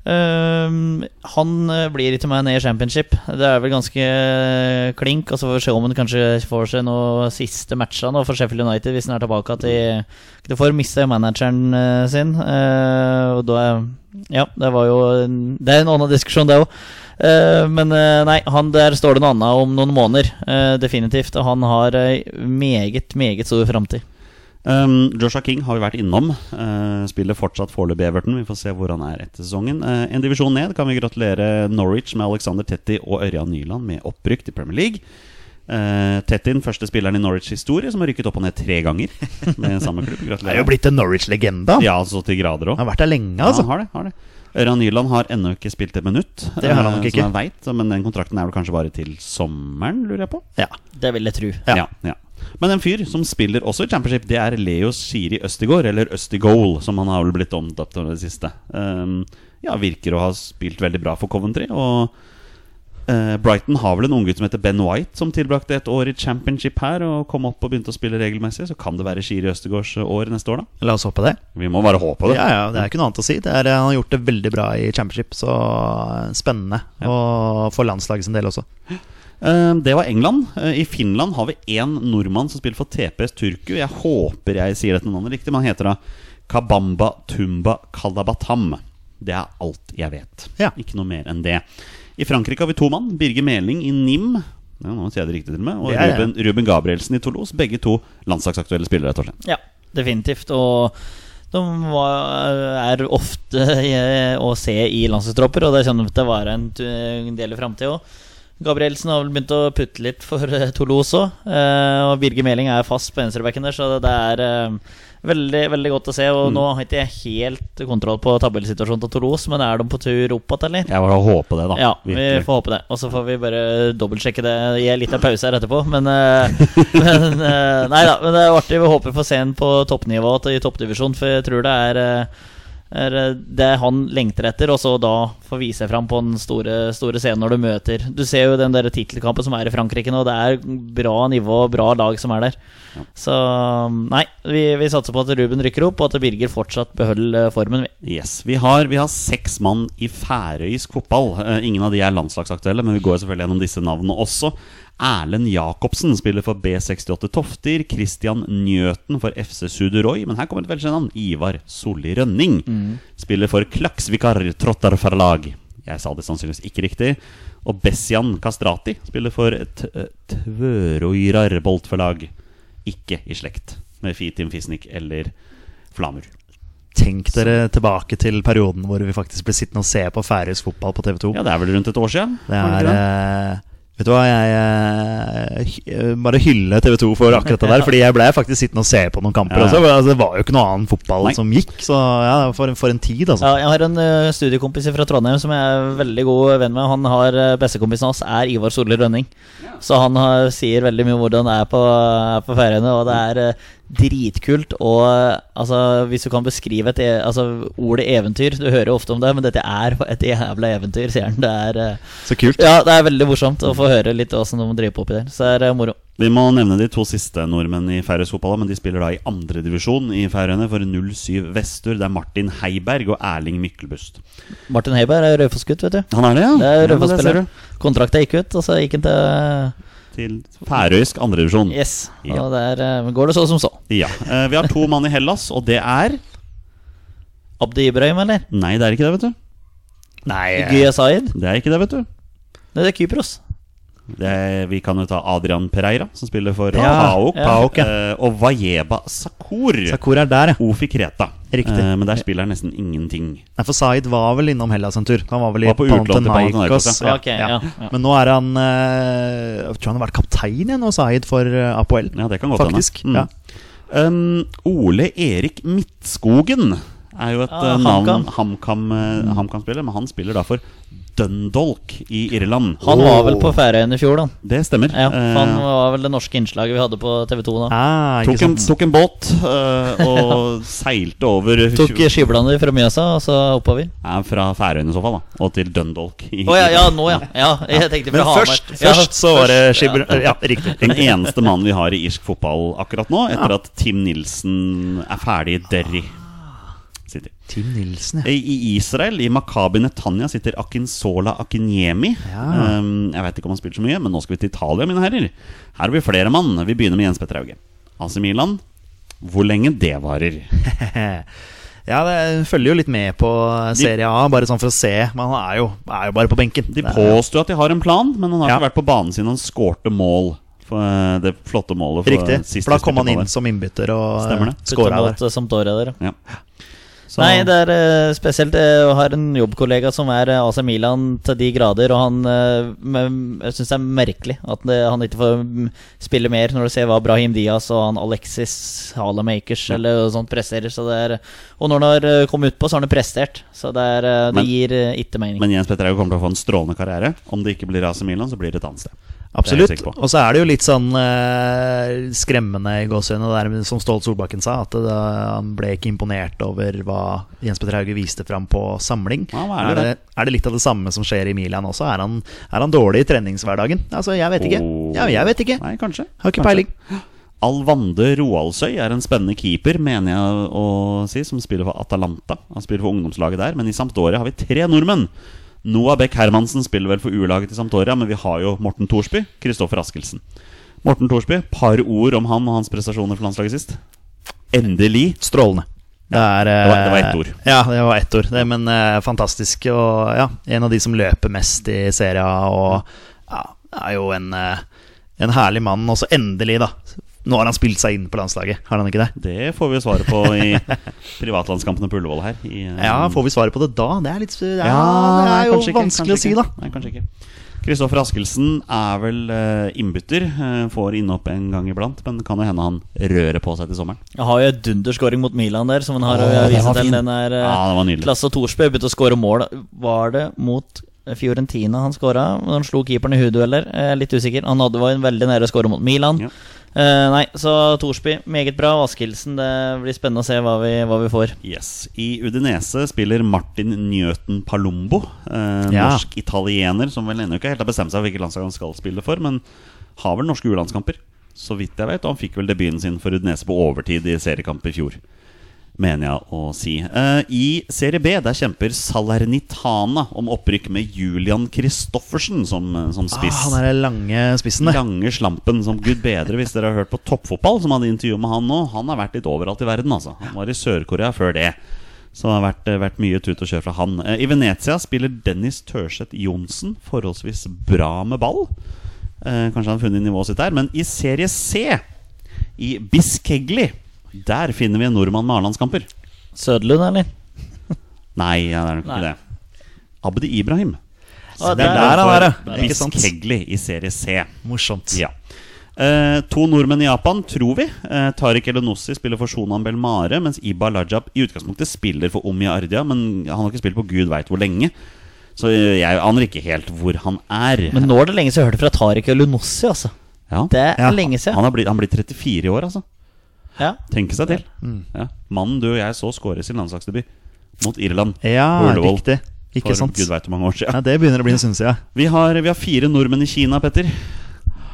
Speaker 1: Ehm, han eh, blir ikke med ned i championship. Det er vel ganske eh, klink. Og så får vi se om han kanskje får seg noen siste matcher nå for Sheffield United hvis han er tilbake til Du får miste manageren eh, sin. eh, og da er Ja, det var jo en- Det er en annen diskusjon, det òg. men eh, nei, han der står det noe annet om noen måneder. eh, definitivt. Og han har ei meget, meget stor framtid.
Speaker 2: Um, Joshua King har vi vært innom. Eh, spiller fortsatt foreløpig Everton. Vi får se hvor han er etter sesongen. Eh, en divisjon ned kan vi gratulere Norwich med Alexander Tetti og Ørjan Nyland med opprykk til Premier League. Uh, Tetti, den første spilleren i Norwich historie som har rykket opp og ned tre ganger med samme klubb.
Speaker 3: Det er jo
Speaker 2: Gratulerer.
Speaker 3: blitt en Norwich-legende. han.
Speaker 2: Ja, så til grader òg.
Speaker 3: Han har vært der lenge,
Speaker 2: Ja,
Speaker 3: altså.
Speaker 2: har det, har det. Ørjan Nyland har ennå ikke spilt et minutt.
Speaker 3: Det har han nok
Speaker 2: eh,
Speaker 3: ikke.
Speaker 2: Som jeg vet, men den kontrakten er vel kanskje bare til sommeren, lurer jeg på.
Speaker 3: Ja.
Speaker 1: Det vil jeg tro.
Speaker 3: Ja.
Speaker 2: Ja. ja. Men en fyr som spiller også i championship, det er Leo Siri Østigård, eller Østigol, som han har vel blitt omdøpt til det siste. Um, ja, virker å ha spilt veldig bra for Coventry. Og eh, Brighton har vel en unggutt som heter Ben White, som tilbrakte et år i championship her og kom opp og begynte å spille regelmessig. Så kan det være Siri Østegårds år neste år, da.
Speaker 3: La oss håpe det.
Speaker 2: Vi må bare håpe det.
Speaker 3: Ja, ja, det er ikke noe annet å si. Det er, eh, han har gjort det veldig bra i championship, så eh, spennende. Og for landslaget sin del også.
Speaker 2: Eh, Det var England. Eh, I Finland har vi én nordmann som spiller for TPS Turku. Jeg håper jeg sier dette navnet riktig, men han heter da Kabamba Tumba Kalabatam. Det er alt jeg vet.
Speaker 3: Ja.
Speaker 2: Ikke noe mer enn det. I Frankrike har vi to mann. Birger Meling i NIM. Ja, nå sier jeg det riktig til og med Og
Speaker 3: Ja, ja.
Speaker 2: Ruben, Ruben Gabrielsen i Toulouse. Begge to landslagsaktuelle spillere. rett og slett
Speaker 1: Ja, definitivt. Og de var, er ofte eh, å se i landslagstropper, og det kommer til å være en tu- en del i framtida òg. Gabrielsen har vel begynt å putte litt for eh, Toulouse òg. Og Birger Meling er fast på venstrebacken der, så det er eh, veldig veldig godt å se. Og nå har ikke jeg helt kontroll på tabellsituasjonen til Toulouse, men er de på tur opp igjen, eller?
Speaker 2: Jeg bare håper det, da.
Speaker 1: Ja, vi
Speaker 2: Virkelig.
Speaker 1: får håpe det. Og så får vi bare dobbeltsjekke det i en liten pause her etterpå. Men, eh, men eh, Nei da, men det er jo artig. Vi håper vi får se ham på toppnivå til- i toppdivisjon, for jeg tror det er, eh, er eh, det han lengter etter. Og så da få vise seg fram på den store, store scenen når du møter Du ser jo den der tittelkampen som er i Frankrike nå. Det er bra nivå og bra lag som er der. Så mm, nei, vi, vi satser på at Ruben rykker opp, og at Birger fortsatt beholder eh, formen. vi.
Speaker 2: Yes, vi har, vi har seks mann i færøysk fotball. Eh, ingen av de er landslagsaktuelle, men vi går selvfølgelig gjennom disse navnene også. Erlend Jacobsen spiller for B68 Tofter. Christian Njøten for FC Suderøy. Men her kommer et velkjent navn. Ivar Solli Rønning. Spiller for Klaksvikar Trottarforlag. Jeg sa det sannsynligvis ikke riktig. Og Bessian Kastrati spiller for T- eh, Tvøroyrar Boltforlag. Ikke i slekt med Fitim Fisnik eller Flamur.
Speaker 3: Tenk dere tilbake til perioden hvor vi faktisk ble sittende og se på færøysk fotball på TV2.
Speaker 2: Ja, det er vel rundt et år siden?
Speaker 3: det
Speaker 2: var
Speaker 3: er
Speaker 2: ikke
Speaker 3: eh, Vet du hva, jeg eh, hy- eh, bare hylle TV2 for akkurat det der. Fordi jeg ble faktisk sittende og se på noen kamper
Speaker 2: Ja, ja.
Speaker 3: også. for Altså, det var jo ikke noe annen fotball
Speaker 2: Nei.
Speaker 3: som gikk. Så ja, for, en- for en tid, altså.
Speaker 1: Ja, jeg har en ø, studiekompis fra Trondheim som jeg er veldig god venn med. Han har ø, Bestekompisen hans er Ivar Solli Rønning. Så han har, sier veldig mye om hvordan det er på, er på feriene, og det er ø, dritkult. Og ø, altså, hvis du kan beskrive et e- altså, ordet eventyr Du hører jo ofte om det, men dette er et jævla eventyr, sier han. Det er, ø,
Speaker 3: Så kult.
Speaker 1: ja, det er veldig morsomt å få høre litt åssen de driver på oppi der. Så det er ø, moro.
Speaker 2: Vi må nevne de to siste nordmenn i færøysk fotball, men de spiller da i andredivisjon i Færøyene for 07 Vestur. Det er Martin Heiberg og Erling Myklebust.
Speaker 1: Martin Heiberg er Raufoss-gutt, vet du.
Speaker 2: Han er det, ja?
Speaker 1: Det
Speaker 2: Ja, men
Speaker 1: er
Speaker 2: det ser
Speaker 1: Raufoss-spiller. Kontrakta gikk ut, og så gikk han til eh,
Speaker 2: du. Til færøysk andredivisjon.
Speaker 1: Yes.
Speaker 2: Ja.
Speaker 1: eh, Og der ø, går det så som så.
Speaker 2: Ja. Eh, Vi har to mann i Hellas, og det er
Speaker 1: Abdi Ibrahim, eller?
Speaker 2: Nei, det er ikke det, vet du.
Speaker 3: Nei,
Speaker 1: Guya Zaid?
Speaker 2: Det er ikke det, vet du.
Speaker 1: Nei, det er Kypros.
Speaker 2: Det er, vi kan jo ta Adrian Pereira, som spiller for
Speaker 3: Ja,
Speaker 2: Paok.
Speaker 1: ja.
Speaker 3: Paok, ja.
Speaker 2: eh, og Vajeba Sakur.
Speaker 3: eh, Sakura er der, ja.
Speaker 2: Ofi Kreta.
Speaker 3: Riktig.
Speaker 2: Eh, men der spiller han nesten ingenting.
Speaker 3: Nei, for Zaid var vel innom Hellas en tur. Han var vel i
Speaker 2: Var på utlån til
Speaker 3: Panathinaikos.
Speaker 2: Panathinaikos,
Speaker 1: ja. Ok, ja, ja.
Speaker 3: Men nå er han eh, Jeg tror han har vært kaptein igjen nå, Zaid, for eh, Apoel.
Speaker 2: Ja, det kan godt
Speaker 3: Faktisk.
Speaker 2: hende.
Speaker 3: Ja.
Speaker 2: Um, Ole Erik Midtskogen er jo et
Speaker 1: Ja,
Speaker 2: eh, navn
Speaker 1: Ah, HamKam. Mm.
Speaker 2: HamKam eh, HamKam spiller, men han spiller da for Dundalk i Irland.
Speaker 1: Han
Speaker 3: Oh.
Speaker 1: var vel på Færøyene i fjor, da.
Speaker 2: Det stemmer.
Speaker 1: Ja,
Speaker 2: Eh,
Speaker 1: for han var vel det norske innslaget vi hadde på TV2 da.
Speaker 3: Ah, ikke
Speaker 2: tok, en,
Speaker 3: sant.
Speaker 2: tok en båt eh, og seilte over
Speaker 1: Tok skiblander fra Mjøsa, og så oppover.
Speaker 2: Ja, Fra Færøyene i så fall, da. Og til Dundalk. i-
Speaker 1: Å ja, ja, nå ja. ja. Jeg tenkte
Speaker 3: Men
Speaker 1: fra Hamar.
Speaker 3: først,
Speaker 1: Ja,
Speaker 3: først så var
Speaker 2: eh,
Speaker 3: det
Speaker 1: først, ja.
Speaker 3: Skibber... Ja, riktig.
Speaker 2: Den eneste mannen vi har i irsk fotball akkurat nå, etter at Tim Nilsen er ferdig i Derry.
Speaker 1: Ah.
Speaker 2: City.
Speaker 3: Tim Nilsen, ja.
Speaker 2: I i Israel, i Makabi Netanya, sitter Akinsola Akinyemi.
Speaker 3: Ja.
Speaker 2: Um, jeg vet ikke om han spiller så mye, men nå skal vi til Italia, mine herrer. Her blir flere mann. Vi begynner med Jens Petter Hauge. AC Milan, hvor lenge det varer.
Speaker 3: Ja, det følger jo litt med på eh, Serie A, bare sånn for å se. Men han er jo, er jo bare på benken.
Speaker 2: De påstår at de har en plan, men han har
Speaker 3: Ja.
Speaker 2: ikke vært på banen siden han skårte mål. For eh, det flotte målet. For
Speaker 3: Riktig.
Speaker 2: eh, siste
Speaker 3: For da kom han inn
Speaker 2: stykket på
Speaker 3: som innbytter
Speaker 2: Stemmer
Speaker 3: og
Speaker 2: det.
Speaker 3: skåra der.
Speaker 1: Bytte mot eh, Sampdoria der, ja.
Speaker 2: der. Ja. Så,
Speaker 1: Nei, det er eh, spesielt eh, Jeg har en jobbkollega som er eh, AC Milan til de grader, og han eh, men Jeg syns det er merkelig at det, han ikke får mm, spille mer, når du ser hva Brahim Diaz og han Alexis Halamakers eller noe sånt presterer. Så det er, og når han har eh, kommet utpå, så har han prestert. Så det, er, eh, det
Speaker 2: Men-
Speaker 1: gir eh, ikke mening.
Speaker 2: Men Jens Petter Hauge kommer til å få en strålende karriere. Om det ikke blir AC Milan, så blir det et annet sted.
Speaker 3: Absolutt.
Speaker 2: Det er jeg sikker på.
Speaker 3: Og så er det jo litt sånn eh, skremmende i gåsehudene, det der med- som Ståle Solbakken sa, at det, han ble ikke imponert over hva Jens Petter Hauge viste fram på samling.
Speaker 2: Ja, hva er
Speaker 3: er,
Speaker 2: det
Speaker 3: det, er det litt av det samme som skjer i Milan også? Er han, er han dårlig i treningshverdagen? Altså, jeg vet ikke.
Speaker 2: Åh.
Speaker 3: Ja, jeg vet ikke.
Speaker 2: Nei, kanskje.
Speaker 3: Har ikke
Speaker 2: Kanskje.
Speaker 3: peiling.
Speaker 2: Alvande Roaldsøy er en spennende keeper, mener jeg å si, som spiller for Atalanta. Han spiller for ungdomslaget der, men i Sampdoria har vi tre nordmenn. Noah Beck Hermansen spiller vel for U-laget til Sampdoria, men vi har jo Morten Thorsby, Kristoffer Askelsen. Morten Thorsby, par ord om han og hans prestasjoner for landslaget sist. Endelig.
Speaker 3: Strålende. Det, er, eh,
Speaker 2: Det var- det var ett ord.
Speaker 3: Ja, det var ett ord. Det, men eh, fantastisk. Og ja, en av de som løper mest i serien. Og ja, er jo en, eh, en herlig mann. Og så endelig, da. Nå har han spilt seg inn på landslaget, har han ikke det?
Speaker 2: Det får vi jo svaret på i privatlandskampene på Ullevål her. I, eh,
Speaker 3: Ja, får vi svaret på det da? Det er, litt, ja, det
Speaker 2: nei,
Speaker 3: er jo
Speaker 2: kanskje ikke,
Speaker 3: vanskelig å
Speaker 2: kanskje
Speaker 3: si,
Speaker 2: ikke.
Speaker 3: da.
Speaker 2: Nei, kanskje ikke. Kristoffer Askelsen er vel eh, innbytter. eh, får innhopp en gang iblant, men kan jo hende han rører på seg til sommeren.
Speaker 1: Jeg har jo en dunderskåring mot Milan der, som han har
Speaker 2: Åh,
Speaker 1: å
Speaker 2: den
Speaker 1: vise
Speaker 2: var
Speaker 1: til.
Speaker 2: fin.
Speaker 1: Den er eh,
Speaker 2: Ja, den var nydelig.
Speaker 1: Klasse Thorsby begynte å skåre mål. Var det mot Fiorentina han skåra? Han slo keeperen i hodedueller. Jeg er litt usikker. Han hadde var jo veldig nære å skåre mot Milan.
Speaker 2: Ja.
Speaker 1: Eh, nei, så Thorsby meget bra. Og Askildsen, det blir spennende å se hva vi, hva vi får.
Speaker 2: Yes. I Udinese spiller Martin Njøten Palombo. Eh,
Speaker 3: Ja.
Speaker 2: Norsk-italiener som vel ennå ikke helt har bestemt seg for hvilket landslag han skal spille for, men har vel norske U-landskamper, så vidt jeg vet. Og han fikk vel debuten sin for Udinese på overtid i seriekamp i fjor. Mener jeg å si. Eh, I Serie B der kjemper Salernitana om opprykk med Julian Kristoffersen som, eh, som
Speaker 3: Ah,
Speaker 2: spiss.
Speaker 3: han er den lange spissen, det.
Speaker 2: Lange slampen som gud bedre hvis dere har hørt på Toppfotball, som hadde intervju med han nå. Han har vært litt overalt i verden, altså. Han var i Sør-Korea før det. Så det har vært, eh, vært mye tut og kjør fra han. Eh, I Venezia spiller Dennis Tørseth Johnsen forholdsvis bra med ball. Eh, kanskje han har funnet nivået sitt der. Men i Serie C, i Biskegli, der finner vi en nordmann med A-landskamper.
Speaker 1: Sødlund, eller?
Speaker 2: Nei, ja, det er nok ikke
Speaker 1: Nei.
Speaker 2: det. Abdi Ibrahim.
Speaker 1: Ah,
Speaker 3: Det er
Speaker 1: der-
Speaker 3: der han er,
Speaker 2: for
Speaker 3: ja. Ikke sant?
Speaker 2: Biskegli i Serie C.
Speaker 3: Morsomt.
Speaker 2: Ja. Eh, to nordmenn i Japan, tror vi. Eh, Tariq Elenossi spiller for Shonan Belmare, mens Iba Lajab i utgangspunktet spiller for Omi Ardia, men han har ikke spilt på gud veit hvor lenge. Så eh, jeg aner ikke helt hvor han er.
Speaker 1: Men nå er det lenge siden jeg hørte fra Tariq Lunossi, altså.
Speaker 2: ja.
Speaker 1: Det er
Speaker 3: Ja,
Speaker 1: lenge siden.
Speaker 2: han, har blitt, han blir 34 i år, altså.
Speaker 1: Ja.
Speaker 2: Tenke seg til. Ja. Mannen du og jeg så skåre sin landslagsdebut mot Irland
Speaker 3: Ja,
Speaker 2: på Ullevål
Speaker 3: riktig. Ikke
Speaker 2: for
Speaker 3: sant.
Speaker 2: gud veit hvor mange år
Speaker 3: Ja,
Speaker 2: siden.
Speaker 3: det begynner å bli en stund siden.
Speaker 2: Vi, har, vi har fire nordmenn i Kina, Petter.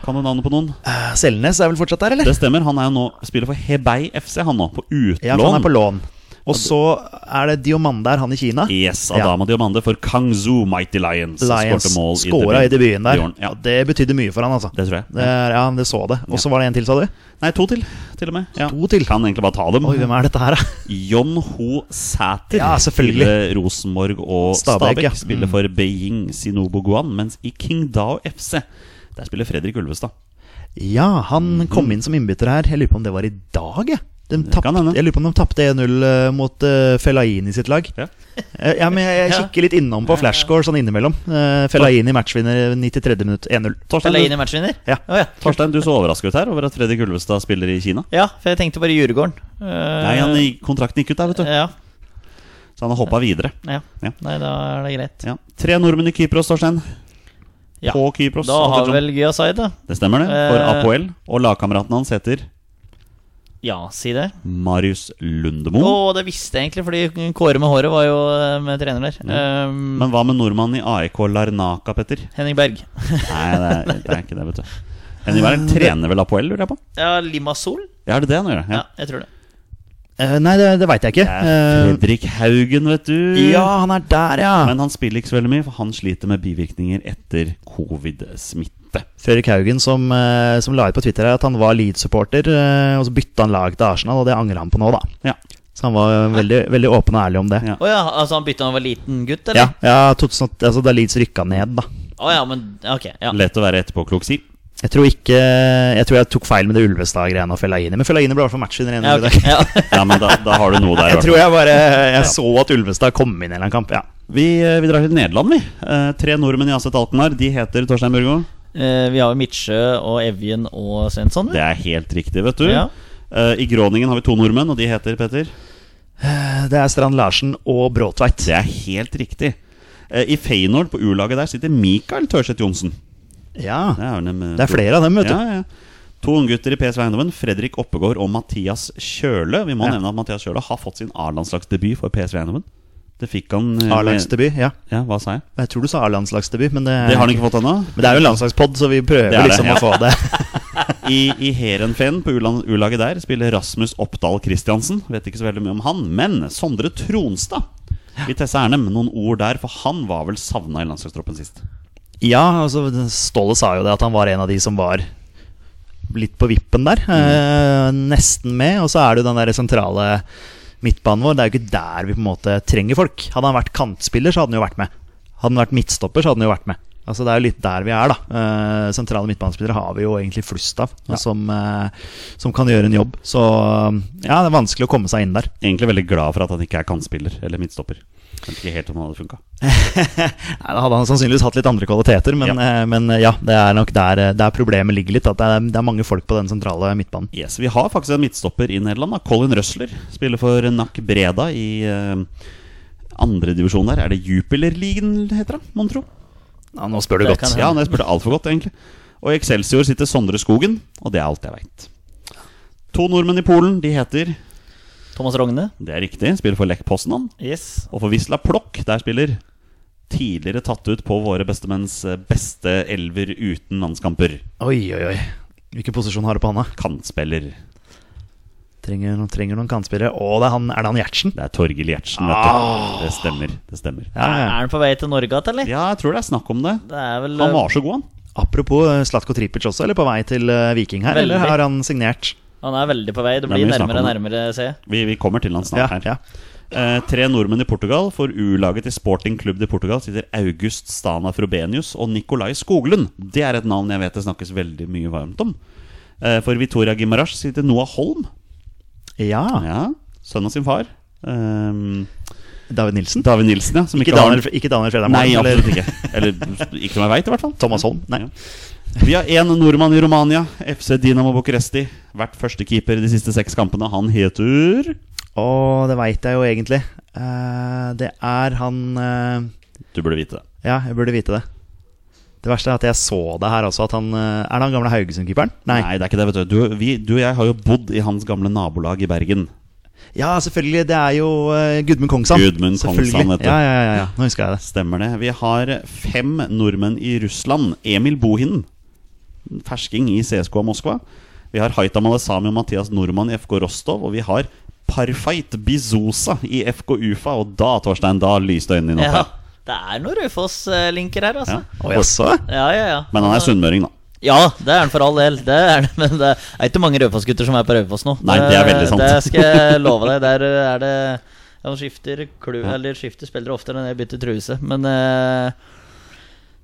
Speaker 2: Kan du navnet på noen?
Speaker 3: Eh, Selnes er vel fortsatt der, eller?
Speaker 2: Det stemmer. Han er jo nå spiller for Hebei FC, han nå. På utlån.
Speaker 3: Ja, for han er på lån. Og så er det Diomande er han i Kina.
Speaker 2: Yes, Adama Diomande for Kangzhou Mighty Lions.
Speaker 3: Lions
Speaker 2: Skårte mål
Speaker 3: skåra i debuten der.
Speaker 2: Bjørn, Ja,
Speaker 3: Og Det betydde mye for han, altså.
Speaker 2: det tror jeg.
Speaker 3: Det er, ja, det så det. Og så var det en til, sa du?
Speaker 2: Nei, to til, til og med. Ja.
Speaker 3: To til.
Speaker 2: Kan egentlig bare ta dem.
Speaker 3: Oi, hvem er dette her, da?
Speaker 2: Jon Ho Sæter
Speaker 3: Ja, selvfølgelig.
Speaker 2: spiller Rosenborg og
Speaker 3: Stabæk,
Speaker 2: Stabæk.
Speaker 3: ja. Mm.
Speaker 2: Spiller for Beijing Sinobo Guan, mens i Qingdao FC der spiller Fredrik Ulvestad.
Speaker 3: Ja, han kom inn som innbytter her. Jeg lurer på om det var i dag, jeg. De tapt,
Speaker 2: kan hende.
Speaker 3: jeg lurer på om de tapte 1-0 eh, mot uh, Felaini sitt lag.
Speaker 2: Ja.
Speaker 3: Eh, ja, men jeg, jeg
Speaker 1: Ja.
Speaker 3: kikker litt innom på flashscore sånn innimellom. Uh, Felaini matchvinner 93. minutt 1-0.
Speaker 2: Torstein,
Speaker 1: Eller inn
Speaker 2: du,
Speaker 1: i matchvinner?
Speaker 3: Ja.
Speaker 1: Å, ja.
Speaker 2: Torstein, du så overrasket ut her over at Fredrik Ulvestad spiller i Kina.
Speaker 1: ja, for jeg tenkte bare Djurgården. Eh,
Speaker 2: Nei, han, Kontrakten gikk ut der, vet du.
Speaker 1: ja,
Speaker 2: Så han har hoppa videre.
Speaker 1: ja.
Speaker 2: Ja.
Speaker 1: Nei, da er det greit.
Speaker 2: Ja. Tre nordmenn i Kypros, Torstein.
Speaker 1: Ja.
Speaker 2: På Kypros. altså
Speaker 1: Da har
Speaker 2: Atterson.
Speaker 1: vel Gyasai, da.
Speaker 2: Det stemmer, det. For
Speaker 1: Eh.
Speaker 2: Apoel. Og lagkameraten hans heter
Speaker 1: Ja, si det.
Speaker 2: Marius Lundemo.
Speaker 1: Å, det visste jeg egentlig, fordi Kåre med håret var jo eh, med trener der. Eh,
Speaker 2: Men hva med nordmannen i AIK Larnaka, Petter?
Speaker 1: Henning Berg.
Speaker 2: Nei, det er, det er ikke det, vet du. Henning Berg trener vel Apoel, lurer jeg på?
Speaker 1: Ja, Limasol?
Speaker 2: Ja, er det det han gjør?
Speaker 1: Ja,
Speaker 2: Ja.
Speaker 1: jeg tror det.
Speaker 3: Eh, nei, det, det veit jeg ikke. Eh,
Speaker 2: Fredrik Haugen, vet du.
Speaker 3: ja, han er der, ja.
Speaker 2: Men han spiller ikke så veldig mye, for han sliter med bivirkninger etter covid-smitte.
Speaker 3: Fredrik Haugen som, eh, som la ut på Twitter her at han var Leeds-supporter, eh, og så bytta han lag til Arsenal, og det angrer han på nå, da.
Speaker 2: Ja.
Speaker 3: Så han var eh, veldig, veldig åpen og ærlig om det.
Speaker 2: Ja.
Speaker 1: Å ja, altså han bytta da han var liten gutt,
Speaker 3: Ja,
Speaker 1: eller?
Speaker 3: ja 2000, altså da Leeds rykka ned, da.
Speaker 1: Å ja, men ok. Ja.
Speaker 2: Lett å være etterpåklok, si.
Speaker 3: Jeg tror ikke Jeg tror jeg tok feil med det Ulvestad-greiene og Fellaini, men Fellaini ble i hvert fall matchvinner.
Speaker 1: Ja,
Speaker 3: Ja,
Speaker 1: ok,
Speaker 3: okay.
Speaker 1: ja.
Speaker 2: Ja, men da, da har du noe der. i
Speaker 3: Jeg
Speaker 2: hvert
Speaker 3: tror
Speaker 2: fall.
Speaker 3: jeg bare Jeg så at Ulvestad kom inn i en eller annen kamp. Ja.
Speaker 2: Vi, eh, vi drar til Nederland, vi. Eh, tre nordmenn i Aset Alkmaar. De heter Torstein Burgo.
Speaker 1: Eh, vi har jo Midtsjø og Evjen og Svensson.
Speaker 2: Det er helt riktig, vet du.
Speaker 1: Ja.
Speaker 2: Eh, I Groningen har vi to nordmenn, og de heter Petter.
Speaker 3: Det er Strand Larsen og Bråtveit.
Speaker 2: Det er helt riktig. Eh, I Feyenoord, på U-laget der, sitter Mikael Tørseth Johnsen.
Speaker 3: Ja,
Speaker 2: Det er, vel dem, eh,
Speaker 3: det er
Speaker 2: to-
Speaker 3: flere av dem, vet du.
Speaker 2: Ja, ja. To unggutter i PSV Eiendommen, Fredrik Oppegård og Mathias Kjøle. Vi må
Speaker 3: Ja.
Speaker 2: nevne at Mathias Kjøle har fått sin A-landslagsdebut for PSV Eiendommen. Det fikk han eh,
Speaker 3: A-lagsdebut. Ja.
Speaker 2: med- Ja, hva sa jeg?
Speaker 3: Jeg tror du sa A-landslagsdebut, men det,
Speaker 2: Det har han ikke fått ennå.
Speaker 3: Men det er jo en landslagspod, så vi prøver
Speaker 2: Det er det,
Speaker 3: liksom
Speaker 2: ja.
Speaker 3: å få det.
Speaker 2: I, i Heerenveen, på U-land- U-laget der, spiller Rasmus Oppdal Christiansen. Vet ikke så veldig mye om han. Men Sondre Tronstad i Tesse Ernem, noen ord der, for han var vel savna i landslagstroppen sist.
Speaker 3: Ja, altså Ståle sa jo det, at han var en av de som var litt på vippen der. Eh, nesten med. Og så er det jo den der sentrale midtbanen vår. Det er jo ikke der vi på en måte trenger folk. Hadde han vært kantspiller, så hadde han jo vært med. Hadde han vært midtstopper, så hadde han jo vært med. Altså Det er jo litt der vi er, da. Eh, sentrale midtbanespillere har vi jo egentlig flust av, og som, eh, som kan gjøre en jobb. Så ja, det er vanskelig å komme seg inn der.
Speaker 2: Egentlig veldig glad for at han ikke er kantspiller eller midtstopper. Jeg vet ikke helt om det hadde funka.
Speaker 3: Nei, Da hadde han sannsynligvis hatt litt andre kvaliteter, men ja, eh, men, eh, ja det er nok der, eh, der problemet ligger litt. At det er, det er mange folk på den sentrale midtbanen.
Speaker 2: Yes, Vi har faktisk en midtstopper i Nederland. da Colin Røsler spiller for Nack Breda i uh, andredivisjon der. Er det Jupiler-ligaen heter det, mon tro?
Speaker 3: Ja, nå spør du
Speaker 1: Det
Speaker 3: godt.
Speaker 1: kan hende.
Speaker 2: Ja, nei, jeg spurte altfor godt, egentlig. Og i Excelsior sitter Sondre Skogen, og det er alt jeg veit. To nordmenn i Polen, de heter
Speaker 1: Thomas Rogne.
Speaker 2: Det er riktig, spiller for Lech Poznan.
Speaker 1: Yes.
Speaker 2: Og for Wisla Plokk, der spiller tidligere tatt ut på våre bestemenns eh, beste elver uten landskamper.
Speaker 3: Oi, oi, oi. Hvilken posisjon har du på handa?
Speaker 2: Kantspiller.
Speaker 3: Trenger, noen- trenger noen kantspillere. Å, det er, han, er det han Gjertsen?
Speaker 2: Det er Torgill Gjertsen, vet du. Det stemmer. Det stemmer.
Speaker 1: Er
Speaker 3: Ja, ja.
Speaker 1: han på vei til Norge igjen, eller?
Speaker 2: Ja, jeg tror det er snakk om det.
Speaker 1: Det er vel
Speaker 2: Han var så god, han.
Speaker 3: Apropos eh, Zlatko Tripic også, eller på vei til eh, Viking her?
Speaker 1: Veldig.
Speaker 3: Eller har han signert?
Speaker 1: eh, Han er veldig på vei. Det
Speaker 2: Det er
Speaker 1: blir
Speaker 2: mye snakk
Speaker 1: nærmere og
Speaker 2: om
Speaker 1: nærmere, ser jeg.
Speaker 2: Vi, vi kommer til han snart
Speaker 3: Ja,
Speaker 2: her.
Speaker 3: ja.
Speaker 2: Eh, tre nordmenn i Portugal. For U-laget til Sporting Klubb i Portugal sitter August Stana Frobenius og Nikolai Skoglund. Det er et navn jeg vet det snakkes veldig mye varmt om. Eh, for Victoria Gimaras sitter Noah Holm.
Speaker 3: Ja.
Speaker 2: Ja, Sønn av sin far. Eh,
Speaker 3: David Nilsen?
Speaker 2: David Nilsen, ja. Som
Speaker 3: Ikke
Speaker 2: ikke, har-
Speaker 3: Daniel, ikke Daniel Fredheim?
Speaker 2: Nei,
Speaker 3: eller-
Speaker 2: absolutt ikke. Eller ikke som jeg veit, i hvert fall.
Speaker 3: Thomas Holm? Nei.
Speaker 2: Ja. Vi har én nordmann i Romania. FC Dinamo Bucuresti. Vært førstekeeper de siste seks kampene. Han heter
Speaker 3: Å, det veit jeg jo egentlig. Eh, det er han eh,
Speaker 2: Du burde vite det.
Speaker 3: Ja, jeg burde vite det. Det verste er at jeg så det her også. At han, eh, er det han gamle Haugesund-keeperen? Nei.
Speaker 2: Nei. det er ikke det, vet du. Du, vi, du og jeg har jo bodd i hans gamle nabolag i Bergen.
Speaker 3: Ja, selvfølgelig. Det er jo eh, Gudmund Kongsand.
Speaker 2: Gudmund
Speaker 3: Selvfølgelig.
Speaker 2: Kongsand, vet du.
Speaker 3: Ja, ja, ja, ja. Nå husker jeg det.
Speaker 2: Stemmer det. Vi har fem nordmenn i Russland. Emil Bohinen, fersking i CSKA Moskva. Vi har Haitam Alesami og Mathias Nordmann i FK Rostov. Og vi har Parfait Bizosa i FK Ufa, og da, Torstein, da lyste øynene dine opp.
Speaker 1: Ja,
Speaker 2: her.
Speaker 1: det er noen Raufoss-linker her, altså.
Speaker 2: Ja. Og-
Speaker 1: Ja, ja, ja.
Speaker 2: Men han er sunnmøring, da.
Speaker 1: Ja, det er han for all del. Det er det, men det er ikke mange Raufoss-gutter som er på Raufoss nå. Eh,
Speaker 2: Nei, det er veldig sant.
Speaker 1: Det skal jeg love deg. Der eh, er det Han skifter, klu, eller skifter spillere oftere enn jeg bytter truse, men eh,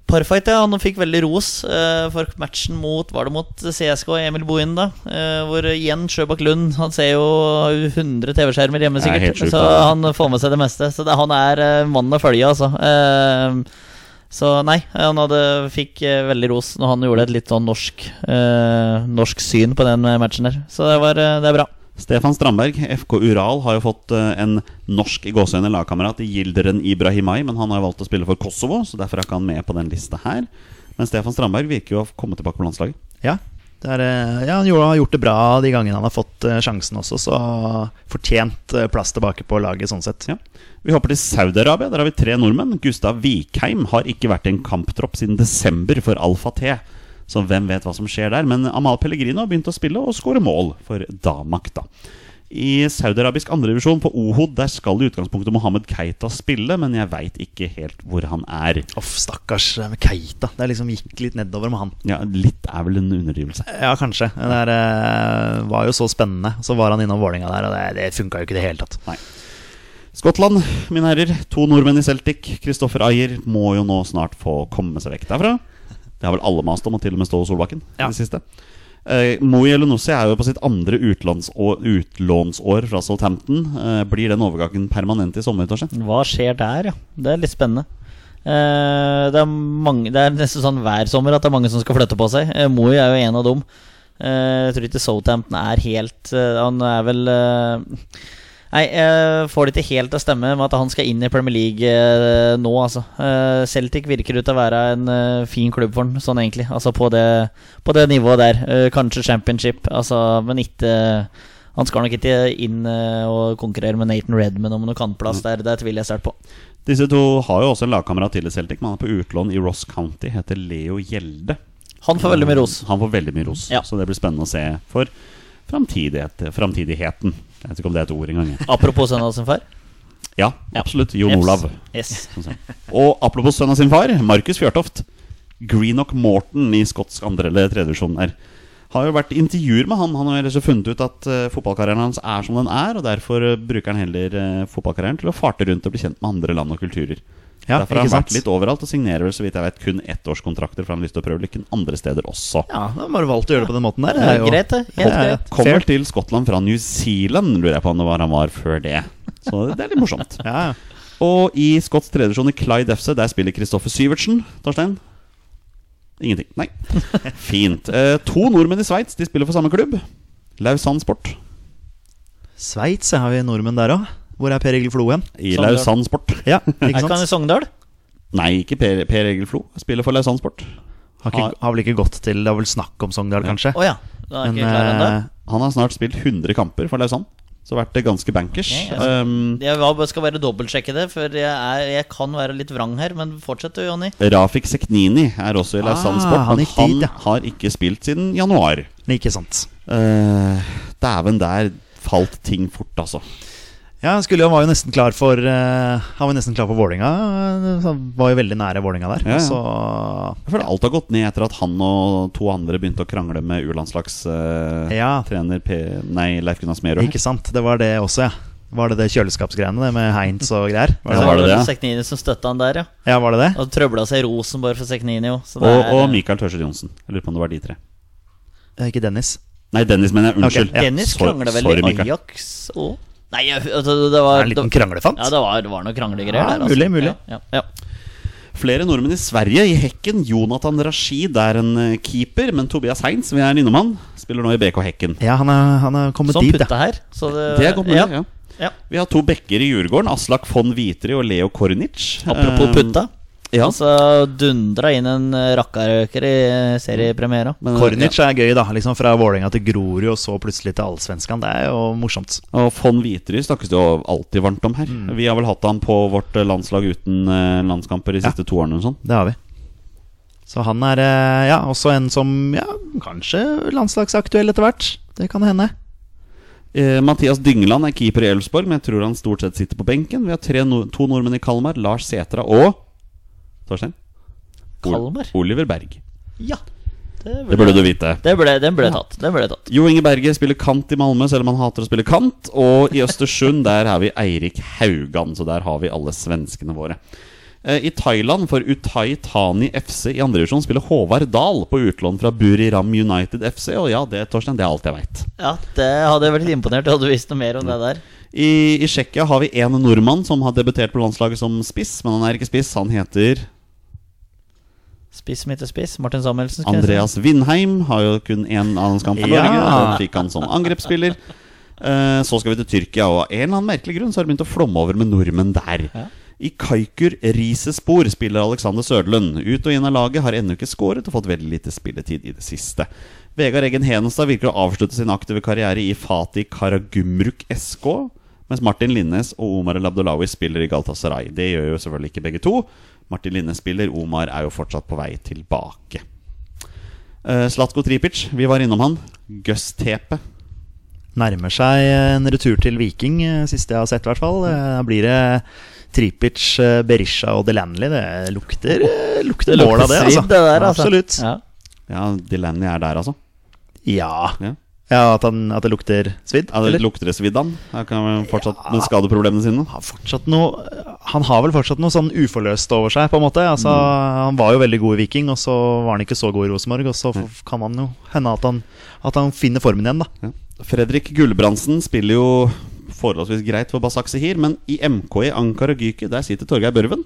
Speaker 1: Parfight, ja. Han fikk veldig ros eh, for matchen mot Var det mot CSK og Emil Bohin, da? Eh, hvor igjen Sjøbakk Lund Han ser jo har jo 100 TV-skjermer hjemme,
Speaker 2: Det er helt
Speaker 1: sikkert.
Speaker 2: sjukt,
Speaker 1: Så
Speaker 2: det.
Speaker 1: han får med seg det meste. Så det, han er eh, mannen å følge, altså. Eh, så nei, han hadde, fikk eh, veldig ros når han gjorde et litt sånn norsk eh, Norsk syn på den eh, matchen der. Så det, var, eh, det er bra.
Speaker 2: Stefan Strandberg, FK Ural, har jo fått eh, en norsk i gåseøyne lagkamerat i Gilderen Ibrahimai, men han har jo valgt å spille for Kosovo, så derfor er ikke han med på den lista her. Men Stefan Strandberg virker jo å komme tilbake på landslaget.
Speaker 3: Ja, det er, eh, ja han gjorde- har gjort det bra de gangene han har fått eh, sjansen også, så fortjent eh, plass tilbake på laget sånn sett.
Speaker 2: Ja. Vi hopper til Saudi-Arabia. Der har vi tre nordmenn. Gustav Vikheim har ikke vært i en kamptropp siden desember for Alfa T. Så hvem vet hva som skjer der. Men Amal Pellegrino har begynt å spille og skåre mål for Damak, da. I saudi-arabisk andredivisjon på Ohod der skal i utgangspunktet Mohammed Keita spille, men jeg veit ikke helt hvor han er.
Speaker 3: Uff, stakkars eh, Keita. Det liksom gikk litt nedover med han.
Speaker 2: Ja, Litt er vel en underdrivelse.
Speaker 3: Ja, kanskje. Det er, eh, var jo så spennende. Så var han innom Vålinga der, og det, det funka jo ikke i det hele tatt.
Speaker 2: Skottland, mine herrer. To nordmenn i Celtic. Kristoffer Ayer må jo nå snart få komme seg vekk derfra. Det har vel alle mast om, og til og med Ståle Solbakken. i
Speaker 3: Ja.
Speaker 2: Det siste eh, Moi Elunussi er jo på sitt andre utlånsår, utlånsår fra Southampton. Eh, blir den overgangen permanent i sommer? Torstein?
Speaker 1: Hva skjer der, ja? Det er litt spennende. Eh, det, er mange, det er nesten sånn hver sommer at det er mange som skal flytte på seg. Uh, Moi er jo en av dem. Eh, jeg tror ikke Southampton er helt eh, Han er vel eh, Nei, jeg får det ikke helt til å stemme med at han skal inn i Premier League eh, nå, altså. Eh, Celtic virker ut til å være en eh, fin klubb for han, sånn egentlig. Altså på det, på det nivået der. Eh, kanskje championship, altså, men ikke Han skal nok ikke inn eh, og konkurrere med Nathan Redman om noen kantplass der, det tviler jeg sterkt på.
Speaker 2: Disse to har jo også en lagkamerat til i Celtic, men han er på utlån i Ross County. Heter Leo Gjelde.
Speaker 1: Han får veldig mye ros.
Speaker 2: Han får veldig mye ros,
Speaker 1: Ja.
Speaker 2: så det blir spennende å se for framtidighet, framtidigheten. Jeg vet ikke om det er et ord engang. jeg.
Speaker 1: Apropos sønnen av sin far.
Speaker 2: Ja, absolutt. Jon
Speaker 1: Eps.
Speaker 2: Olav. sånn
Speaker 1: Yes.
Speaker 2: Og apropos sønnen av sin far, Markus Fjørtoft. Greenock Morton i skotsk andre- eller tredjevisjon her. Har jo vært intervjuer med han. Han har ellers funnet ut at eh, fotballkarrieren hans er som den er, og derfor eh, bruker han heller eh, fotballkarrieren til å farte rundt og bli kjent med andre land og kulturer.
Speaker 3: Ja,
Speaker 2: derfor har
Speaker 3: ikke
Speaker 2: han
Speaker 3: sant?
Speaker 2: vært litt overalt og signerer vel så vidt jeg vet kun ettårskontrakter, for han har lyst til å prøve lykken andre steder også.
Speaker 3: Ja, da har bare valgt å gjøre det på den måten der.
Speaker 1: Det er greit, det. Helt
Speaker 3: Ja, ja.
Speaker 1: greit.
Speaker 2: Kommer
Speaker 3: Fair.
Speaker 2: til Skottland fra New Zealand, lurer jeg på om det var han var før det. Så det er litt morsomt.
Speaker 3: Ja, ja.
Speaker 2: Og i skotsk tredjevisjon i Clyde FC, der spiller Kristoffer Syvertsen. Torstein? Ingenting. Nei. Fint. Eh, to nordmenn i Sveits, de spiller for samme klubb. Lausanne Sport.
Speaker 3: Sveits ja, har vi nordmenn der òg. Hvor er Per Egil Flo hen?
Speaker 2: I
Speaker 1: Sogndal.
Speaker 2: Lausanne Sport.
Speaker 3: Ja, ikke
Speaker 1: Er ikke han i
Speaker 3: sant?
Speaker 1: Sogndal?
Speaker 2: Nei, ikke Per, per Egil Flo. Spiller for Lausanne Sport.
Speaker 3: Har, ikke, har vel ikke gått til Det var vel snakk om Sogndal, kanskje?
Speaker 1: Å ja. Da er jeg
Speaker 3: Men,
Speaker 1: ikke klar ennå.
Speaker 3: eh,
Speaker 2: Han har snart spilt 100 kamper for Lausanne. Så vært det ganske bankers.
Speaker 1: Ok, jeg
Speaker 2: um,
Speaker 1: Jeg var- skal bare dobbeltsjekke det, for jeg, er, jeg kan være litt vrang her. Men fortsett du, Jonny.
Speaker 2: Rafik Seknini er også i Lausanne
Speaker 3: Ah,
Speaker 2: Sport,
Speaker 3: han
Speaker 2: men
Speaker 3: gikk
Speaker 2: han
Speaker 3: dit, ja.
Speaker 2: har ikke spilt siden januar.
Speaker 3: ikke sant.
Speaker 2: Eh, Dæven, der falt ting fort, altså.
Speaker 3: Ja, han skulle jo, var jo nesten klar for eh, Han var jo nesten klar for Vålinga. eh, så Han var jo veldig nære Vålinga der.
Speaker 2: Ja, ja.
Speaker 3: Så
Speaker 2: Jeg føler alt har gått ned etter at han og to andre begynte å krangle med U-landslagstrener
Speaker 3: Ja,
Speaker 2: P... Nei, Leif Gunnar Smerud.
Speaker 3: ikke sant. Det var det også, ja. Var det det kjøleskapsgreiene det med Heinz og greier? Var
Speaker 2: Ja,
Speaker 3: det,
Speaker 2: var det det?
Speaker 1: Seknini som støtta han der, ja.
Speaker 3: ja, var det det?
Speaker 1: Og trøbla seg i Rosenborg for Seknini, jo. Så det
Speaker 2: Og,
Speaker 1: er- eh,
Speaker 2: og Michael Tørseth Johnsen. Jeg lurer på om det var de tre.
Speaker 3: Eh, Ikke Dennis.
Speaker 2: Nei, Dennis, mener jeg. Unnskyld.
Speaker 3: Ok, ja.
Speaker 1: Dennis
Speaker 2: Sorry-
Speaker 1: krangla vel
Speaker 2: sorry,
Speaker 1: i
Speaker 2: Mikael.
Speaker 1: Ajax òg? Nei, jeg, altså, det var
Speaker 3: En liten kranglefant?
Speaker 1: Ja, det var, det var noen kranglegreier
Speaker 3: Ja,
Speaker 1: der. Altså.
Speaker 3: mulig, mulig.
Speaker 1: Ja, ja, ja.
Speaker 2: Flere nordmenn i Sverige. I Hekken. Jonathan Rashid er en eh, keeper, men Tobias Heinz, vi er innom han, spiller nå i BK Hekken.
Speaker 3: Ja, han er, han er kommet
Speaker 1: Som
Speaker 3: dit,
Speaker 1: Sånn putta
Speaker 3: ja.
Speaker 1: her. Så det,
Speaker 2: Det er godt mulig,
Speaker 1: ja.
Speaker 2: ja.
Speaker 1: Ja.
Speaker 2: Vi har to bekker i Djurgården. Aslak von Vitry og Leo Kornic.
Speaker 1: Apropos
Speaker 2: Eh,
Speaker 1: putta.
Speaker 2: Ja.
Speaker 1: Altså dundra inn en eh, rakkarøker i eh, seriepremiera.
Speaker 2: Men, eh,
Speaker 3: Kornic er gøy, da. Liksom Fra Vålinga til Grorud, og så plutselig til Allsvenskan. Det er jo morsomt.
Speaker 2: Og von Witerøe snakkes det jo alltid varmt om her.
Speaker 1: Mm.
Speaker 2: Vi har vel hatt han på vårt eh, landslag uten eh, landskamper de siste to årene. og Sånn.
Speaker 3: Det har vi. Så han er eh, ja, også en som ja, kanskje landslagsaktuell etter hvert. Det kan hende.
Speaker 2: Eh, Mathias Dyngeland er keeper i Elfsborg, men jeg tror han stort sett sitter på benken. Vi har tre nor- to nordmenn i Kalmar. Lars Sætra og Torstein? Ol-
Speaker 1: Kalmar?
Speaker 2: Oliver Berg.
Speaker 1: Ja.
Speaker 2: Det burde du vite.
Speaker 1: Det ble, den ble tatt. Den ble tatt.
Speaker 2: Jo Inge Berge spiller kant i Malmö, selv om han hater å spille kant. Og i Østersund der har vi Eirik Haugan, så der har vi alle svenskene våre. Eh, I Thailand for Utai Thani FC i andre divisjon spiller Håvard Dahl på utlån fra Buriram United FC. Og ja, det Torstein, det er alt jeg veit.
Speaker 1: Ja, det hadde jeg vært litt imponert. Jeg hadde visst noe mer om det der.
Speaker 2: I, I Tsjekkia har vi én nordmann som har debutert på landslaget som spiss, men han er ikke spiss. Han heter
Speaker 1: Spiss som ikke spiss. Martin Samuelsen. skal jeg si.
Speaker 2: Andreas Vindheim har jo kun én landskamp for
Speaker 3: Ja.
Speaker 2: Norge. og Den fikk han som angrepsspiller. Eh, Så skal vi til Tyrkia, og av en eller annen merkelig grunn så har det begynt å flomme over med nordmenn der. I Kaikur Risespor spiller Alexander Søderlund. Ut og inn av laget har ennå ikke skåret og fått veldig lite spilletid i det siste. Vegard Eggen Henestad virker å avslutte sin aktive karriere i Fatih Karagumruk SK. Mens Martin Linnes og Omar El Abdullawi spiller i Galatasaray. Det gjør jo selvfølgelig ikke begge to. Martin Linnes spiller, Omar er jo fortsatt på vei tilbake. Eh, Zlatko Tripic, vi var innom han. Gus Tepe.
Speaker 3: Nærmer seg eh, en retur til Viking, eh, siste jeg har sett, i hvert fall. Eh, Da blir det Tripic, eh, Berisha og Delanley. Det lukter, eh, lukter mål av det,
Speaker 1: svidd,
Speaker 3: altså.
Speaker 1: det der, altså.
Speaker 3: Absolutt.
Speaker 1: Ja.
Speaker 2: Ja, Delaney er der, altså.
Speaker 3: Ja.
Speaker 2: Ja.
Speaker 3: ja at, han, at det lukter svidd?
Speaker 2: Ja, det
Speaker 3: eller?
Speaker 2: lukter det svidd han? Han kan vel fortsatt med skadeproblemene sine?
Speaker 3: har fortsatt noe Han har vel fortsatt noe sånn uforløst over seg, på en måte. Altså, Han var jo veldig god i Viking, og så var han ikke så god i Rosenborg. Og så f- kan han jo hende at han, at han finner formen igjen, da.
Speaker 2: Ja. Fredrik Gulbrandsen spiller jo forholdsvis greit for Basak Sehir, men i MK i Ankara Gyki, der sitter Torgeir Børven.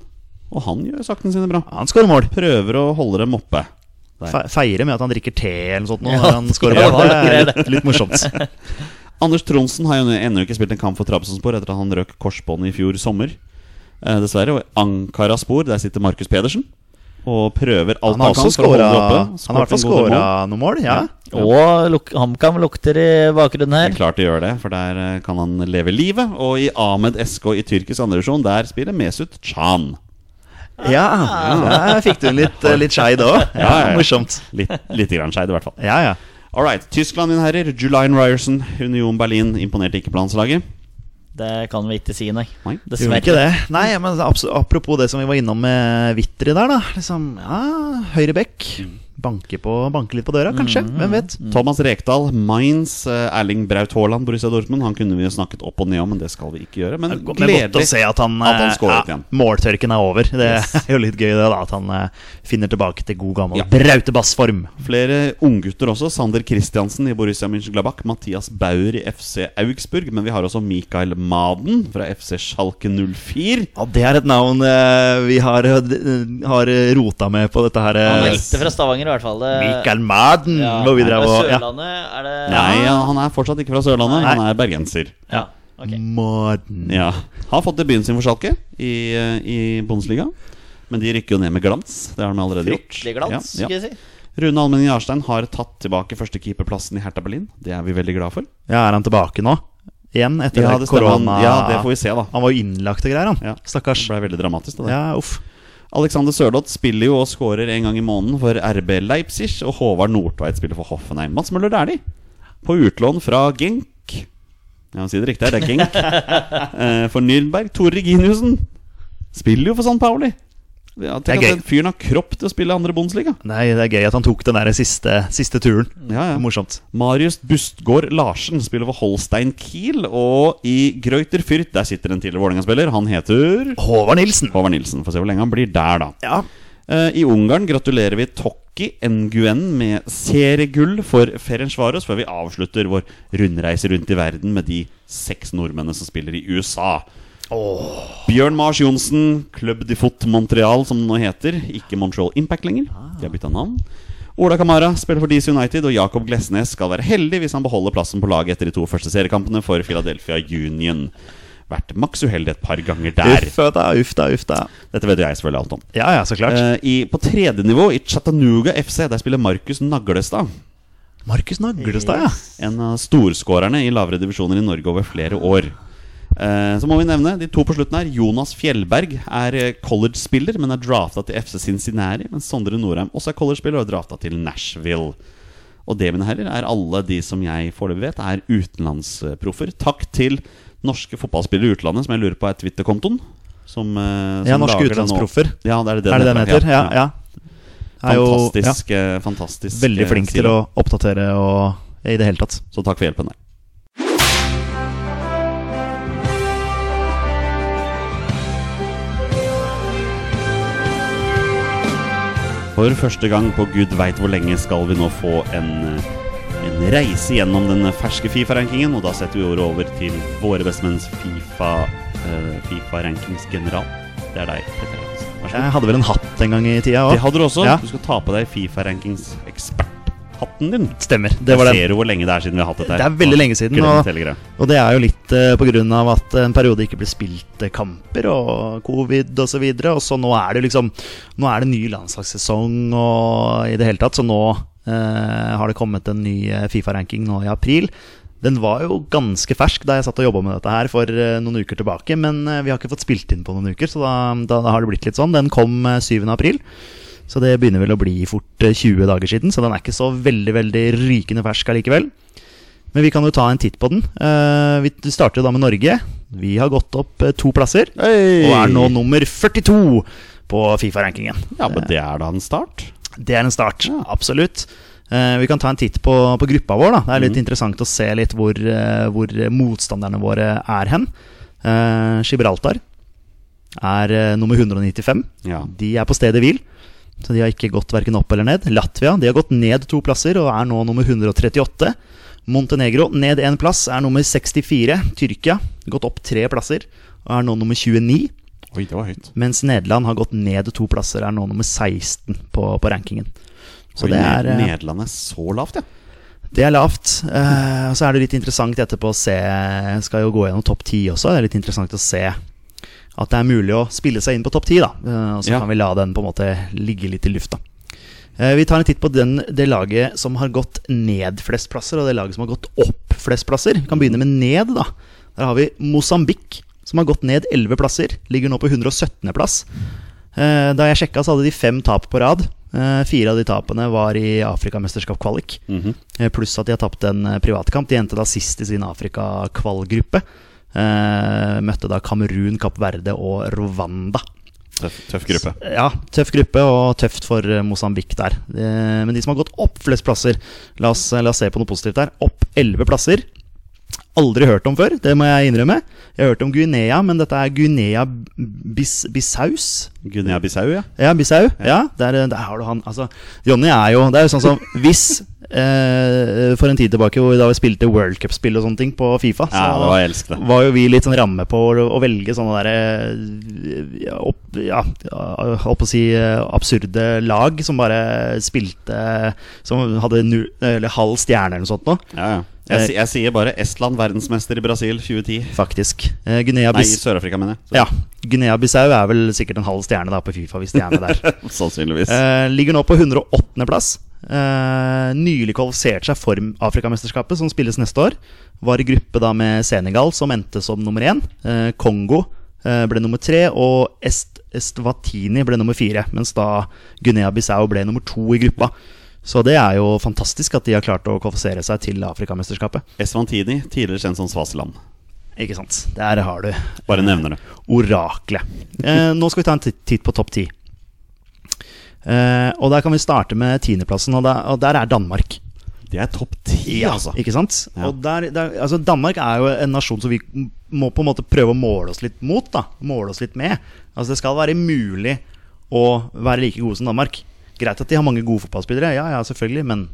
Speaker 2: Og han gjør sakene sine bra.
Speaker 3: Han skårer mål.
Speaker 2: Prøver å holde dem oppe.
Speaker 3: Fe feirer med at han drikker te eller noe sånt nå,
Speaker 1: Ja,
Speaker 3: når han skårer
Speaker 1: det
Speaker 3: mål.
Speaker 1: var
Speaker 3: Det er
Speaker 1: det.
Speaker 3: litt, litt morsomt.
Speaker 2: Anders Tronsen har jo ennå ikke spilt en kamp for Trabzonspor etter at han røk korsbåndet i fjor sommer. Eh, dessverre. Og i Ankara-spor, der sitter Markus Pedersen og prøver alt
Speaker 3: Han har
Speaker 2: han
Speaker 3: også
Speaker 2: kan for å holde
Speaker 3: skåra
Speaker 2: det oppe.
Speaker 3: Han har i hvert fall
Speaker 2: Sporting godtar mål.
Speaker 3: skåra noen mål, ja.
Speaker 1: Og luk HamKam lukter i bakgrunnen
Speaker 2: Det er
Speaker 1: her.
Speaker 2: klart det gjør det, for der eh, kan han leve livet. Og i Ahmed SK i tyrkisk andredivisjon, der spiller Mesut Can.
Speaker 3: Ja, der fikk du litt, litt skei da òg. Ja,
Speaker 2: Ja, ja, ja.
Speaker 3: morsomt.
Speaker 2: Litt, lite grann skeid, i hvert fall.
Speaker 3: Ja, ja.
Speaker 2: All right. Tyskland, mine herrer. Julian Ryerson, Union Berlin, imponerte ikke på landslaget.
Speaker 1: Det kan vi ikke si, nei.
Speaker 2: Nei.
Speaker 3: Gjorde ikke det. Nei, men abs- apropos det som vi var innom med Vitry der, da. Liksom, ja, høyre bekk. Banke, på, banke litt på døra, kanskje.
Speaker 1: Mm.
Speaker 3: Hvem vet.
Speaker 2: Mm. Thomas Rekdal, Mainz, eh, Erling Braut Haaland, Borussia Dortmund. Han kunne vi jo snakket opp og ned om, men det skal vi ikke gjøre. Men
Speaker 3: Det er godt å
Speaker 2: gledelig.
Speaker 3: se at han,
Speaker 2: at han
Speaker 3: eh,
Speaker 2: scoret igjen.
Speaker 3: Måltørken er over. Det er jo litt gøy det da, at han eh, finner tilbake til god gammel
Speaker 2: Ja.
Speaker 3: brautebassform.
Speaker 2: Flere unggutter også. Sander Kristiansen i Borussia Mönchengladbach. Mathias Bauer i FC Augsburg. Men vi har også Mikael Maden fra FC Schalke 04.
Speaker 3: Ja, det er et navn eh, vi har, eh, har eh, rota med på dette her.
Speaker 1: Han
Speaker 3: eh,
Speaker 1: meldte fra Stavanger, i hvert fall. Det-
Speaker 3: Mikael Madden,
Speaker 1: Ja,
Speaker 3: hvor vi
Speaker 1: er
Speaker 3: drev
Speaker 1: det
Speaker 3: og ja.
Speaker 1: Sørlandet, er det
Speaker 2: Nei, han er fortsatt ikke fra Sørlandet.
Speaker 3: Nei.
Speaker 2: Han er bergenser.
Speaker 1: Ja, ok.
Speaker 2: Mm.
Speaker 3: Madden.
Speaker 2: Ja. Har fått debuten sin for Schalke i, eh, i Bundesliga. Men de rykker jo ned med glans. Det har de allerede
Speaker 1: Fryktelig
Speaker 2: gjort.
Speaker 1: glans,
Speaker 2: Ja,
Speaker 1: skal
Speaker 2: ja.
Speaker 1: jeg si.
Speaker 2: Rune Almenning Jarstein har tatt tilbake førstekeeperplassen i Hertha Berlin. Det er vi veldig glad for.
Speaker 3: Ja, er han tilbake nå? Igjen etter
Speaker 2: Ja,
Speaker 3: det
Speaker 2: det stemmer. Han-
Speaker 3: korona...
Speaker 2: ja, det får vi se, da.
Speaker 3: Han var jo innlagt og greier, han.
Speaker 2: Ja.
Speaker 3: Stakkars.
Speaker 2: Det ble veldig dramatisk. Det der.
Speaker 3: Ja, uff.
Speaker 2: Alexander Sørloth spiller jo og skårer en gang i måneden for RB Leipzig. Og Håvard Nordtveit spiller for Hoffenheim. Mats Møller Dæhlie på utlån fra Genk. Ja, han sier det riktig her, det er Genk. Eh, for Nürnberg. Tore Reginiussen spiller jo for San Pauli. Ja,
Speaker 3: Det er
Speaker 2: tenk at
Speaker 3: gøy.
Speaker 2: den fyren har kropp til å spille i andre Bundesliga.
Speaker 3: Nei, det er gøy at han tok den der siste, siste turen.
Speaker 2: Ja, ja.
Speaker 3: Morsomt.
Speaker 2: Marius Bustgaard Larsen spiller for Holstein Kiel. Og i Greuter Fürth, der sitter en tidligere Vålerenga-spiller. Han heter
Speaker 3: Håvard Nilsen.
Speaker 2: Håvard Nilsen. Får se hvor lenge han blir der, da.
Speaker 3: Ja.
Speaker 2: Eh, I Ungarn gratulerer vi Tokki Nguyen med seriegull for Ferencvaros før vi avslutter vår rundreise rundt i verden med de seks nordmennene som spiller i USA. Bjørn Mars Johnsen, Club de Foot Montreal, som den nå heter. Ikke Montreal Impact lenger. De har bytta navn. Ola Kamara spiller for DC United, og Jakob Glesnes skal være heldig hvis han beholder plassen på laget etter de to første seriekampene for Philadelphia Union. Vært maks uheldig et par ganger der.
Speaker 3: Uff da, uff da, uff da.
Speaker 2: Dette vet jo jeg selvfølgelig alt om.
Speaker 3: Ja ja, så klart.
Speaker 2: Eh, i, på tredje nivå, i Chattanooga FC, der spiller Markus Naglestad.
Speaker 3: Markus Naglestad, ja.
Speaker 2: En av storskårerne i lavere divisjoner i Norge over flere år. Eh, så må vi nevne de to på slutten her. Jonas Fjellberg er eh, college-spiller, men er drafta til FC Cincinnati. Mens Sondre Norheim også er college-spiller og er drafta til Nashville. Og det, mine herrer, er alle de som jeg foreløpig vet er utenlandsproffer. Takk til norske fotballspillere i utlandet, som jeg lurer på er Twitter-kontoen. Som, eh, som
Speaker 3: Ja, norske
Speaker 2: lager det nå.
Speaker 3: utenlandsproffer.
Speaker 2: Ja, det er det
Speaker 3: Er det det den heter? Ja. ja. Er jo ja,
Speaker 2: Fantastisk, eh, fantastisk
Speaker 3: veldig flink til å oppdatere og i det hele tatt.
Speaker 2: Så takk for hjelpen der. For første gang på gud veit hvor lenge skal vi nå få en, eh, en reise gjennom den ferske Fifa-rankingen, og da setter vi ordet over til våre bestemenns FIFA, eh, FIFA-rankingsgeneral. Det er deg, Petter Hansen. Vær så god.
Speaker 3: Jeg hadde vel en hatt en gang i tida
Speaker 2: Det
Speaker 3: òg.
Speaker 2: hadde du også.
Speaker 3: Ja.
Speaker 2: Du skal ta på deg Fifa-rankings-eksperthatten din.
Speaker 3: Stemmer. Det var den.
Speaker 2: Ser du hvor lenge det er siden vi har hatt dette? her?
Speaker 3: Det er veldig lenge siden,
Speaker 2: Glem
Speaker 3: og-
Speaker 2: hele greia.
Speaker 3: Og det er jo litt eh, på grunn av at en periode ikke ble spilt eh, kamper og covid og så videre. Og så nå er det liksom Nå er det ny landslagssesong og i det hele tatt, så nå eh, har det kommet en ny eh, Fifa-ranking nå i april. Den var jo ganske fersk da jeg satt og jobba med dette her for eh, noen uker tilbake, men eh, vi har ikke fått spilt inn på noen uker, så da, da, da har det blitt litt sånn. Den kom eh, 7. april. Så det begynner vel å bli fort eh, 20 dager siden, så den er ikke så veldig veldig rykende fersk allikevel. Men vi kan jo ta en titt på den. Eh, vi du starter jo da med Norge. Vi har gått opp eh, to plasser, og er nå nummer 42 på Fifa-rankingen.
Speaker 2: Ja, men det er da en start.
Speaker 3: Det er en start, absolutt. Eh, vi kan ta en titt på, på gruppa vår. da Det er litt interessant å se litt hvor, eh, hvor motstanderne våre er hen. Eh, Gibraltar er eh, nummer 195.
Speaker 2: Ja.
Speaker 3: De er på stedet hvil. Så de har ikke gått verken opp eller ned. Latvia de har gått ned to plasser og er nå nummer 138. Montenegro ned én plass, er nummer 64. Tyrkia gått opp tre plasser og er nå nummer 29.
Speaker 2: Oi, det var høyt.
Speaker 3: Mens Nederland har gått ned to plasser, er nå nummer 16 på, på rankingen. Så
Speaker 2: Oi,
Speaker 3: det er,
Speaker 2: Ned-
Speaker 3: eh,
Speaker 2: Nederland er så lavt, ja.
Speaker 3: det er lavt. Eh, og så er det litt interessant etterpå å se Skal jo gå gjennom topp ti også. Det er litt interessant å se at det er mulig å spille seg inn på topp ti, da. Eh, og så
Speaker 2: Ja.
Speaker 3: kan vi la den på en måte ligge litt i lufta. Eh, vi tar en titt på den, det laget som har gått ned flest plasser, og det laget som har gått opp flest plasser. Vi kan begynne med ned, da. Der har vi Mosambik, som har gått ned 11 plasser. Ligger nå på 117. plass. Eh, Da jeg sjekka, så hadde de fem tap på rad. Eh, Fire av de tapene var i Afrikamesterskap-kvalik.
Speaker 2: Mhm.
Speaker 3: Eh, Pluss at de har tapt en eh, privatkamp. De endte da sist i sin Afrika-kvalgruppe. Eh, Møtte da Kamerun, Kapp Verde og Rwanda.
Speaker 2: Tøff, tøff gruppe.
Speaker 3: Ja, tøff gruppe og tøft for eh, Mosambik der. Eh, Men de som har gått opp flest plasser La oss, eh, la oss se på noe positivt der. Opp elleve plasser. Aldri hørt om før, det må jeg innrømme. Jeg har hørt om Guinea, men dette er Guinea-Bissaus.
Speaker 2: Guinea-Bissau, ja.
Speaker 3: Ja, Bissau. Ja, der, der har du han. Altså, Jonny er jo Det er jo sånn som hvis eh, For en tid tilbake hvor da vi spilte World Cup-spill og sånne ting på Fifa, så
Speaker 2: Ja, det var jeg elsket det.
Speaker 3: var jo vi litt sånn ramme på å, å velge sånne derre ja, opp- Ja, ja, holdt på å si eh, absurde lag som bare spilte Som hadde nu, eller halv stjerne eller noe sånt noe,
Speaker 2: ja, ja. Jeg,
Speaker 3: Eh,
Speaker 2: si- jeg sier bare Estland verdensmester i Brasil 2010.
Speaker 3: faktisk. Eh,
Speaker 2: Nei,
Speaker 3: Guinea-Bissau
Speaker 2: Sør-Afrika, mener jeg. Så-
Speaker 3: ja, Guinea er vel sikkert en halv stjerne da på Fifa, hvis de er med der.
Speaker 2: Sannsynligvis.
Speaker 3: Eh, ligger nå på 108. plass. Eh, nylig kvalifiserte seg for Afrikamesterskapet, som spilles neste år. Var i gruppe da med Senegal, som endte som nummer én. Eh, Kongo eh, ble nummer tre, og Est Estvatini ble nummer fire. Mens da Guinea-Bissau ble nummer to i gruppa. Så det er jo fantastisk at de har klart å kvalifisere seg til Afrikamesterskapet.
Speaker 2: Eswantini, tidligere kjent som Svaziland.
Speaker 3: Ikke sant. Der har du
Speaker 2: Bare nevner det.
Speaker 3: oraklet. Eh, nå skal vi ta en titt- titt på topp ti. Eh, og der kan vi starte med tiendeplassen, og, der- og der er Danmark.
Speaker 2: Det er topp ti, altså.
Speaker 3: Ikke sant?
Speaker 2: Ja.
Speaker 3: Og der, der, altså Danmark er jo en nasjon som vi m- må på en måte prøve å måle oss litt mot. da Måle oss litt med. Altså Det skal være mulig å være like gode som Danmark. Greit at de har mange gode fotballspillere, ja ja, selvfølgelig, men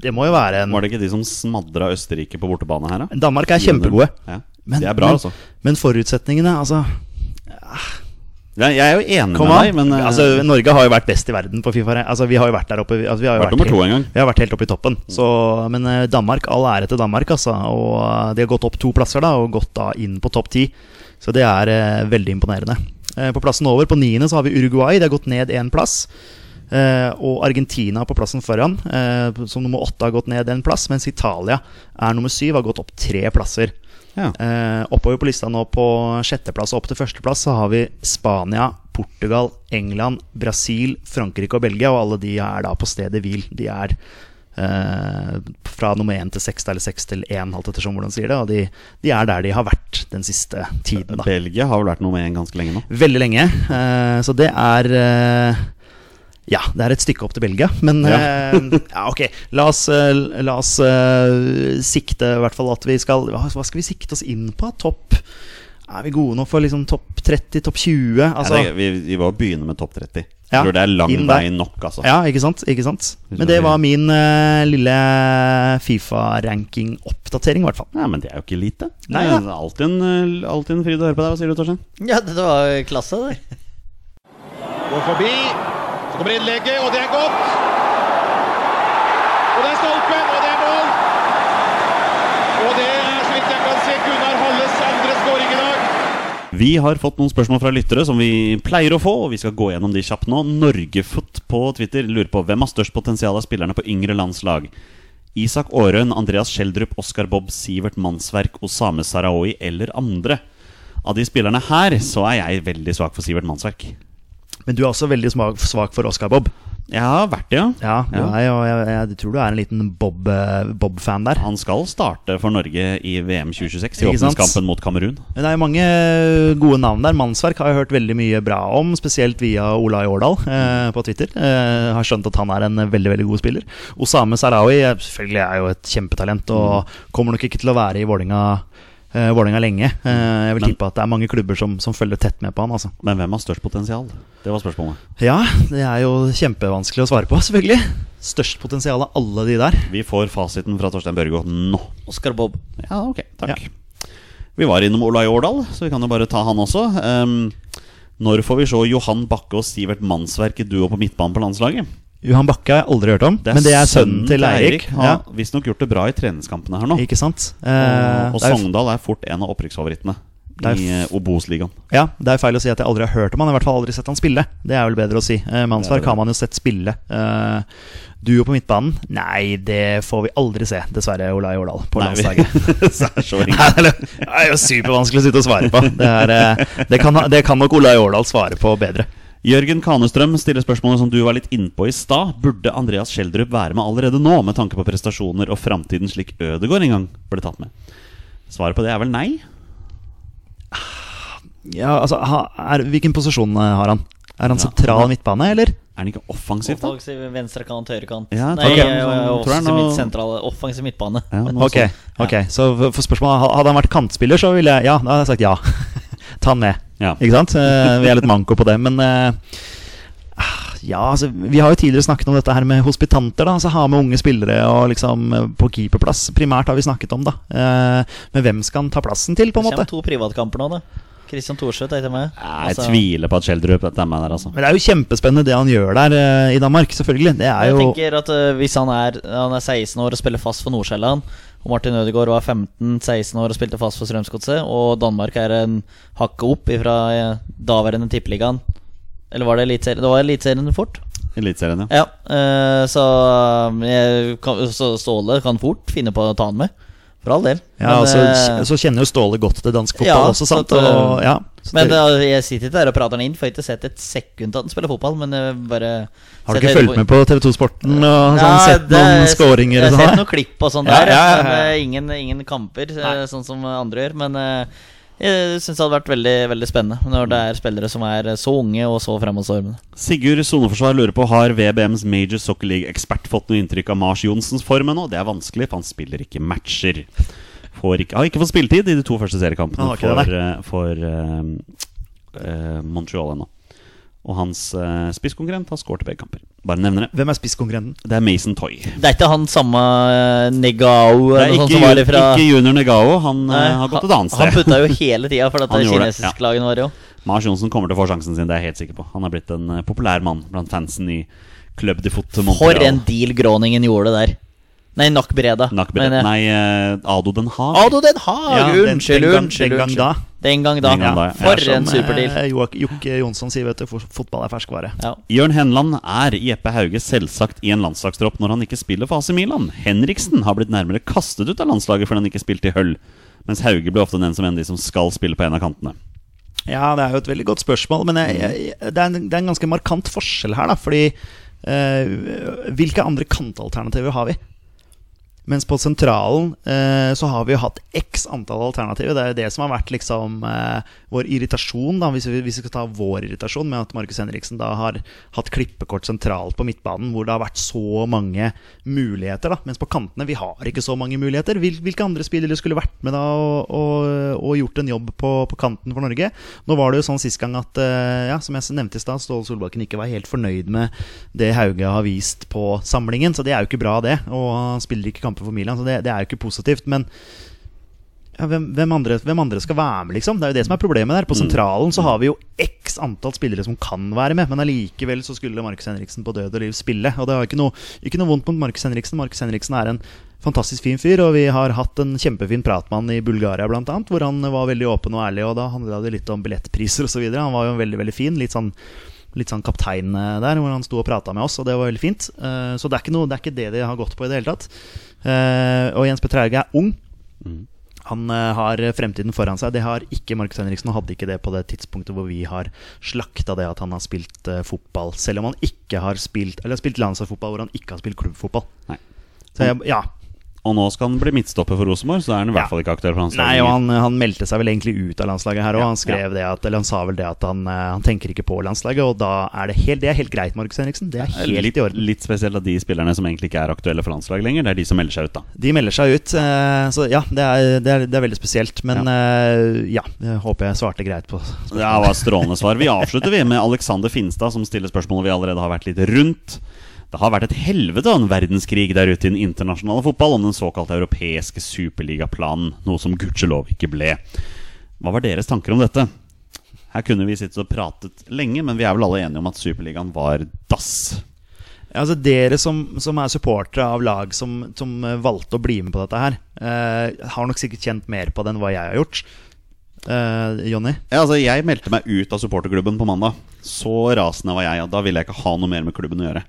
Speaker 3: det må jo være en
Speaker 2: Var det ikke de som smadra Østerrike på bortebane her, da?
Speaker 3: Danmark er kjempegode.
Speaker 2: Ja.
Speaker 3: Men,
Speaker 2: det er bra,
Speaker 3: men,
Speaker 2: altså.
Speaker 3: men forutsetningene, altså
Speaker 2: Ja, jeg er jo enig
Speaker 3: Kom
Speaker 2: med
Speaker 3: an.
Speaker 2: deg, men eh,
Speaker 3: altså, Norge har jo vært best i verden på Fifa. Altså, vi har jo vært der oppe. Altså, vi har jo
Speaker 2: Vært nummer to en gang. Mm.
Speaker 3: Vi har vært helt oppe i toppen. Så, men eh, Danmark, all ære til Danmark, altså. Og eh, de har gått opp to plasser da, og gått da inn på topp ti. Så det er eh, veldig imponerende. Eh, på plassen over, på niende, så har vi Uruguay. De har gått ned én plass. Eh, og Argentina på plassen foran, eh, som nummer åtte har gått ned en plass. Mens Italia er nummer syv, har gått opp tre plasser.
Speaker 2: ja.
Speaker 3: Eh, oppover på lista nå på sjetteplass og opp til førsteplass så har vi Spania, Portugal, England, Brasil, Frankrike og Belgia. Og alle de er da på stedet hvil. De er eh, fra nummer én til seks, eller seks til én, alt ettersom hvordan man sier det. Og de, de er der de har vært den siste tiden, da.
Speaker 2: Belgia har vel vært nummer én ganske lenge nå.
Speaker 3: Veldig lenge. eh, så det er eh, ja, det er et stykke opp til Belgia, men
Speaker 2: Ja.
Speaker 3: eh, ja, ok. La oss, eh, la oss eh, sikte i hvert fall at vi skal hva, hva skal vi sikte oss inn på? Topp Er vi gode nå for liksom topp 30, topp 20? Altså,
Speaker 2: Nei, det, vi, vi må begynne med topp 30. Jeg
Speaker 3: Ja,
Speaker 2: tror det er lang
Speaker 3: inn der.
Speaker 2: vei nok, altså.
Speaker 3: ja, ikke sant? ikke sant?
Speaker 2: Hvis
Speaker 3: Men
Speaker 2: vi-
Speaker 3: det var min eh, lille Fifa-ranking-oppdatering, i hvert fall.
Speaker 2: Nei, men det er jo ikke lite. Det
Speaker 3: Nei,
Speaker 2: er
Speaker 3: ja.
Speaker 2: alltid en, eh, alltid en fryd å høre på deg. Hva sier du, Torstein?
Speaker 1: Ja, dette var jo klasse, det.
Speaker 4: Går forbi. Så kommer innlegget, og det er godt. Og det er stolpen, og det er mål. Og det er, så vidt jeg kan se, Gunnar Halles andre skåring i dag.
Speaker 2: Vi har fått noen spørsmål fra lyttere som vi pleier å få, og vi skal gå gjennom de kjapt nå. Norgefoot på Twitter lurer på hvem har størst potensial av spillerne på yngre landslag. Isak Aarøen, Andreas Schjelderup, Oskar Bob, Sivert Mannsverk, Osame Sarawi eller andre. Av de spillerne her så er jeg veldig svak for Sivert Mannsverk.
Speaker 3: Men du er også veldig smak, svak for Oscar Bob.
Speaker 2: Jeg har vært det, ja.
Speaker 3: Ja, du er jo, jeg, jeg tror du er en liten Bob, eh, Bob-fan der.
Speaker 2: Han skal starte for Norge i VM 2026, i
Speaker 3: Ikke sant?
Speaker 2: åpningskampen mot Kamerun.
Speaker 3: Men Det er jo mange eh, gode navn der. Mannsverk har jeg hørt veldig mye bra om, spesielt via Olai Årdal eh, på Twitter. Eh, har skjønt at han er en veldig veldig god spiller. Osame Sarawi eh, selvfølgelig er jo et kjempetalent og kommer nok ikke til å være i Vålinga eh, Vålinga lenge. Eh, jeg vil
Speaker 2: Men-
Speaker 3: tippe at det er mange klubber som, som følger tett med på han. altså
Speaker 2: Men hvem har størst potensial? Det var spørsmålet.
Speaker 3: Ja, det er jo kjempevanskelig å svare på, selvfølgelig. Størst potensial av alle de der.
Speaker 2: Vi får fasiten fra Torstein Børgo nå.
Speaker 1: Oscar Bob.
Speaker 2: Ja, ok, takk Vi var innom Olai Årdal, så vi kan jo bare ta han også Ehm, Når får vi se Johan Bakke og Sivert Mannsverk i duo på midtbanen på landslaget?
Speaker 3: Johan Bakke har jeg aldri hørt om, men det er sønnen til Eirik.
Speaker 2: Han
Speaker 3: Ja,
Speaker 2: har visstnok gjort det bra i treningskampene her nå
Speaker 3: ikke sant? Eh,
Speaker 2: Og, og
Speaker 3: det er jo-
Speaker 2: Sogndal er fort en av opprykksfavorittene
Speaker 3: Det er
Speaker 2: I
Speaker 3: f-
Speaker 2: eh, Obos-ligaen
Speaker 3: Ja, det er feil å si at jeg aldri har hørt om han. Jeg har i hvert fall aldri sett han spille. Det er vel bedre å si. Eh,
Speaker 2: Det er
Speaker 3: Mannsverk
Speaker 2: det.
Speaker 3: har man jo sett spille. Eh, duo på midtbanen? Nei, det får vi aldri se, dessverre, Olai Årdal, på
Speaker 2: Nei, vi-
Speaker 3: landslaget.
Speaker 2: Så er det så enkelt.
Speaker 3: Nei, det er- det er jo supervanskelig å sitte og svare på. Det, er, eh, det, kan, det kan nok Olai Årdal svare på bedre.
Speaker 2: Jørgen Kanestrøm stiller spørsmålet som du var litt innpå i stad Burde Andreas Kjeldrup være med allerede nå Med tanke på prestasjoner og fremtiden slik Ødegård en gang ble tatt med? Svaret på det er vel nei
Speaker 3: Ja, altså, ha, er, hvilken posisjon eh, har han? Er han
Speaker 2: Ja.
Speaker 3: sentral midtbane, eller?
Speaker 2: Er den ikke offensivt da?
Speaker 1: Offensiv venstrekant, høyrekant.
Speaker 2: Ja, jeg
Speaker 1: Nei,
Speaker 2: tror det er noe
Speaker 1: eh,
Speaker 2: sånn- tror det er
Speaker 1: offensiv
Speaker 2: noe-
Speaker 1: midt- sentral- offensiv midtbane.
Speaker 2: Ja, noe
Speaker 3: Ok,
Speaker 2: sånt.
Speaker 3: ok, så for- for spørsmålet ha- Hadde han vært kantspiller, så ville jeg Ja, da hadde jeg sagt ja. Ta han med.
Speaker 2: Ja.
Speaker 3: Ikke sant? Eh, Vi er litt manko på det, men eh, ah, ja, altså, Vi har jo tidligere snakket om dette her med hospitanter. da, altså Ha med unge spillere og liksom eh, på keeperplass. Primært har vi snakket om, da. Eh, Men hvem skal han ta plassen til, på en
Speaker 1: Det
Speaker 3: måte?
Speaker 1: kommer to privatkamper nå, da. Kristian Thorseth er etter meg. Altså,
Speaker 2: Jeg tviler på at Schjelderup er med der, altså.
Speaker 3: Men Det er jo kjempespennende det han gjør der eh, i Danmark, selvfølgelig. Det er
Speaker 1: Jeg
Speaker 3: jo
Speaker 1: tenker at eh, Hvis han er, han er 16 år og spiller fast for Nordsjælland, og Martin Ødegaard var 15-16 år og spilte fast for Strømsgodset, og Danmark er en hakket opp fra daværende Tippeligaen Eller var det Eliteserien? Det var Eliteserien fort.
Speaker 2: Eliteserien, ja.
Speaker 1: Ja, eh, så, jeg kan, så Ståle kan fort finne på å ta han med. For all del.
Speaker 3: ja,
Speaker 1: Men,
Speaker 3: altså,
Speaker 1: eh,
Speaker 3: Så kjenner jo Ståle godt til dansk fotball
Speaker 1: Ja,
Speaker 3: også, sant?
Speaker 1: så at, eh,
Speaker 3: Og, ja. Så
Speaker 1: men
Speaker 3: det-
Speaker 1: eh, jeg sitter ikke der og prater han inn, for jeg har ikke sett et sekund til at han spiller fotball. Men jeg bare
Speaker 3: Har du ikke fulgt med på TV2 Sporten og sånn, sett noen scoringer?
Speaker 1: Jeg
Speaker 3: og
Speaker 1: har sett
Speaker 3: sånn?
Speaker 1: noen klipp og sånn
Speaker 3: Ja,
Speaker 1: der,
Speaker 3: ja, ja, ja.
Speaker 1: men eh, ingen, ingen kamper, eh, sånn som andre gjør. Men eh, jeg syns det hadde vært veldig veldig spennende når det er spillere som er så unge og så fremadstormende.
Speaker 2: Sigurd Soneforsvar lurer på har VBMs Major Soccer League-ekspert fått noe inntrykk av Mars Johnsens form ennå. Det er vanskelig, for han spiller ikke matcher. Får ikke, har ikke fått spilletid i de to første seriekampene
Speaker 3: Han har ikke det,
Speaker 2: for, eh, for eh, eh, Montreal ennå. Og hans eh, spisskonkurrent har skåret i begge kamper. Bare nevner det.
Speaker 3: Hvem er spisskonkurrenten?
Speaker 2: Det er Mason Toy.
Speaker 1: Det er ikke han samme eh, Negao
Speaker 2: Det
Speaker 1: eller
Speaker 2: er ikke,
Speaker 1: noe sånt som var
Speaker 2: ju-
Speaker 1: ifra
Speaker 2: ikke junior Negao. Han eh,
Speaker 1: Nei,
Speaker 2: har gått et annet
Speaker 1: Han
Speaker 2: sted.
Speaker 1: putta jo hele tida for at
Speaker 2: Han gjorde det,
Speaker 1: kinesisk-lagene var jo
Speaker 2: Mars Johnsen kommer til å få sjansen sin, det er jeg helt sikker på. Han er blitt en eh, populær mann blant fansen i Club de Foot Montreal.
Speaker 1: For en deal Groningen gjorde der. Nei, Nak Breda.
Speaker 2: Nakbred.
Speaker 1: Men, eh,
Speaker 2: Nei, eh, Ado Den Haag.
Speaker 1: Ado Den Haag!
Speaker 3: Ja, den-
Speaker 1: unnskyld,
Speaker 3: den gang-
Speaker 1: unnskyld.
Speaker 3: den gang
Speaker 1: unnskyld.
Speaker 3: da.
Speaker 1: Den gang da.
Speaker 2: Den gang da, ja.
Speaker 1: For
Speaker 2: Ja,
Speaker 1: en
Speaker 3: Som, eh,
Speaker 1: superdeal.
Speaker 3: Joak- Jokke Jonsson sier, vet du, for- fotball er ferskvare.
Speaker 1: Ja.
Speaker 2: Jørn Henland er Jeppe Hauge selvsagt i en landslagstropp når han ikke spiller for AC Milan. Henriksen har blitt nærmere kastet ut av landslaget fordi han ikke spilte i høll, mens Hauge ble ofte den som en av de som skal spille på en av kantene.
Speaker 3: Ja, det er jo et veldig godt spørsmål, men jeg, jeg, det, er en, det er en ganske markant forskjell her, da. Fordi eh, Hvilke andre kantalternativer har vi? Mens på sentralen eh, så har vi jo hatt x antall alternativer. Det er jo det som har vært liksom eh, vår irritasjon, da, hvis, vi, hvis vi skal ta vår irritasjon, med at Markus Henriksen da har hatt klippekort sentralt på midtbanen, hvor det har vært så mange muligheter. da, Mens på kantene vi har ikke så mange muligheter. Hvil, hvilke andre spillere skulle vært med da og, og, og gjort en jobb på, på kanten for Norge? Nå var det jo sånn sist gang at, eh, ja, som jeg nevnte i stad, Ståle Solbakken ikke var helt fornøyd med det Hauge har vist på samlingen, så det er jo ikke bra, det. Og han spiller ikke kamper for Milan, så det, det er jo ikke positivt. men ja, hvem, hvem, andre, hvem andre skal være med, liksom? Det er jo det som er problemet der. På sentralen så har vi jo x antall spillere som kan være med, men allikevel så skulle Markus Henriksen på død og liv spille. Og det er ikke noe, ikke noe vondt mot Markus Henriksen. Markus Henriksen er en fantastisk fin fyr, og vi har hatt en kjempefin prat med han i Bulgaria, blant annet, hvor han var veldig åpen og ærlig, og da handla det litt om billettpriser osv. Han var jo veldig, veldig fin. Litt sånn litt sånn kaptein eh, der, hvor han sto og prata med oss, og det var veldig fint. Eh, Så det er ikke, noe, det er ikke det de har gått på i det hele tatt. Eh, Og Jens Petter Hauge er ung. Han eh, har fremtiden foran seg. Det har ikke Markus Henriksen, og hadde ikke det på det tidspunktet hvor vi har slakta det at han har spilt eh, fotball, selv om han ikke har spilt Eller har spilt landslagsfotball hvor han ikke har spilt klubbfotball.
Speaker 2: Nei.
Speaker 3: Så jeg, ja,
Speaker 2: Og nå skal han bli midtstopper for Rosenborg, så da er han i
Speaker 3: Ja.
Speaker 2: hvert fall ikke aktuell for landslaget.
Speaker 3: Nei, og han, han meldte seg vel egentlig ut av landslaget her òg.
Speaker 2: Ja,
Speaker 3: Han skrev det at, eller han sa vel det at han, eh, han tenker ikke på landslaget, og da er det helt, det er helt greit, Markus Henriksen. Det er helt
Speaker 2: litt,
Speaker 3: i orden.
Speaker 2: litt spesielt at de spillerne som egentlig ikke er aktuelle for landslaget lenger, det er de som melder seg ut, da.
Speaker 3: De melder seg ut, eh, så ja, det er, det er, det er veldig spesielt. Men eh, ja, jeg håper jeg svarte greit på
Speaker 2: Det var et strålende svar. Vi avslutter vi med Alexander Finstad, som stiller spørsmålet vi allerede har vært litt rundt. Det har vært et helvete av en verdenskrig der ute i den internasjonale fotball om den såkalte europeiske superligaplanen, noe som gudskjelov ikke ble. Hva var deres tanker om dette? Her kunne vi sittet og pratet lenge, men vi er vel alle enige om at Superligaen var dass.
Speaker 3: Altså Dere som, som er supportere av lag som, som eh, valgte å bli med på dette her, eh, har nok sikkert kjent mer på det enn hva jeg har gjort. Eh, Jonny?
Speaker 2: Ja, altså Jeg meldte meg ut av supporterklubben på mandag. Så rasende var jeg, og da ville jeg ikke ha noe mer med klubben å gjøre.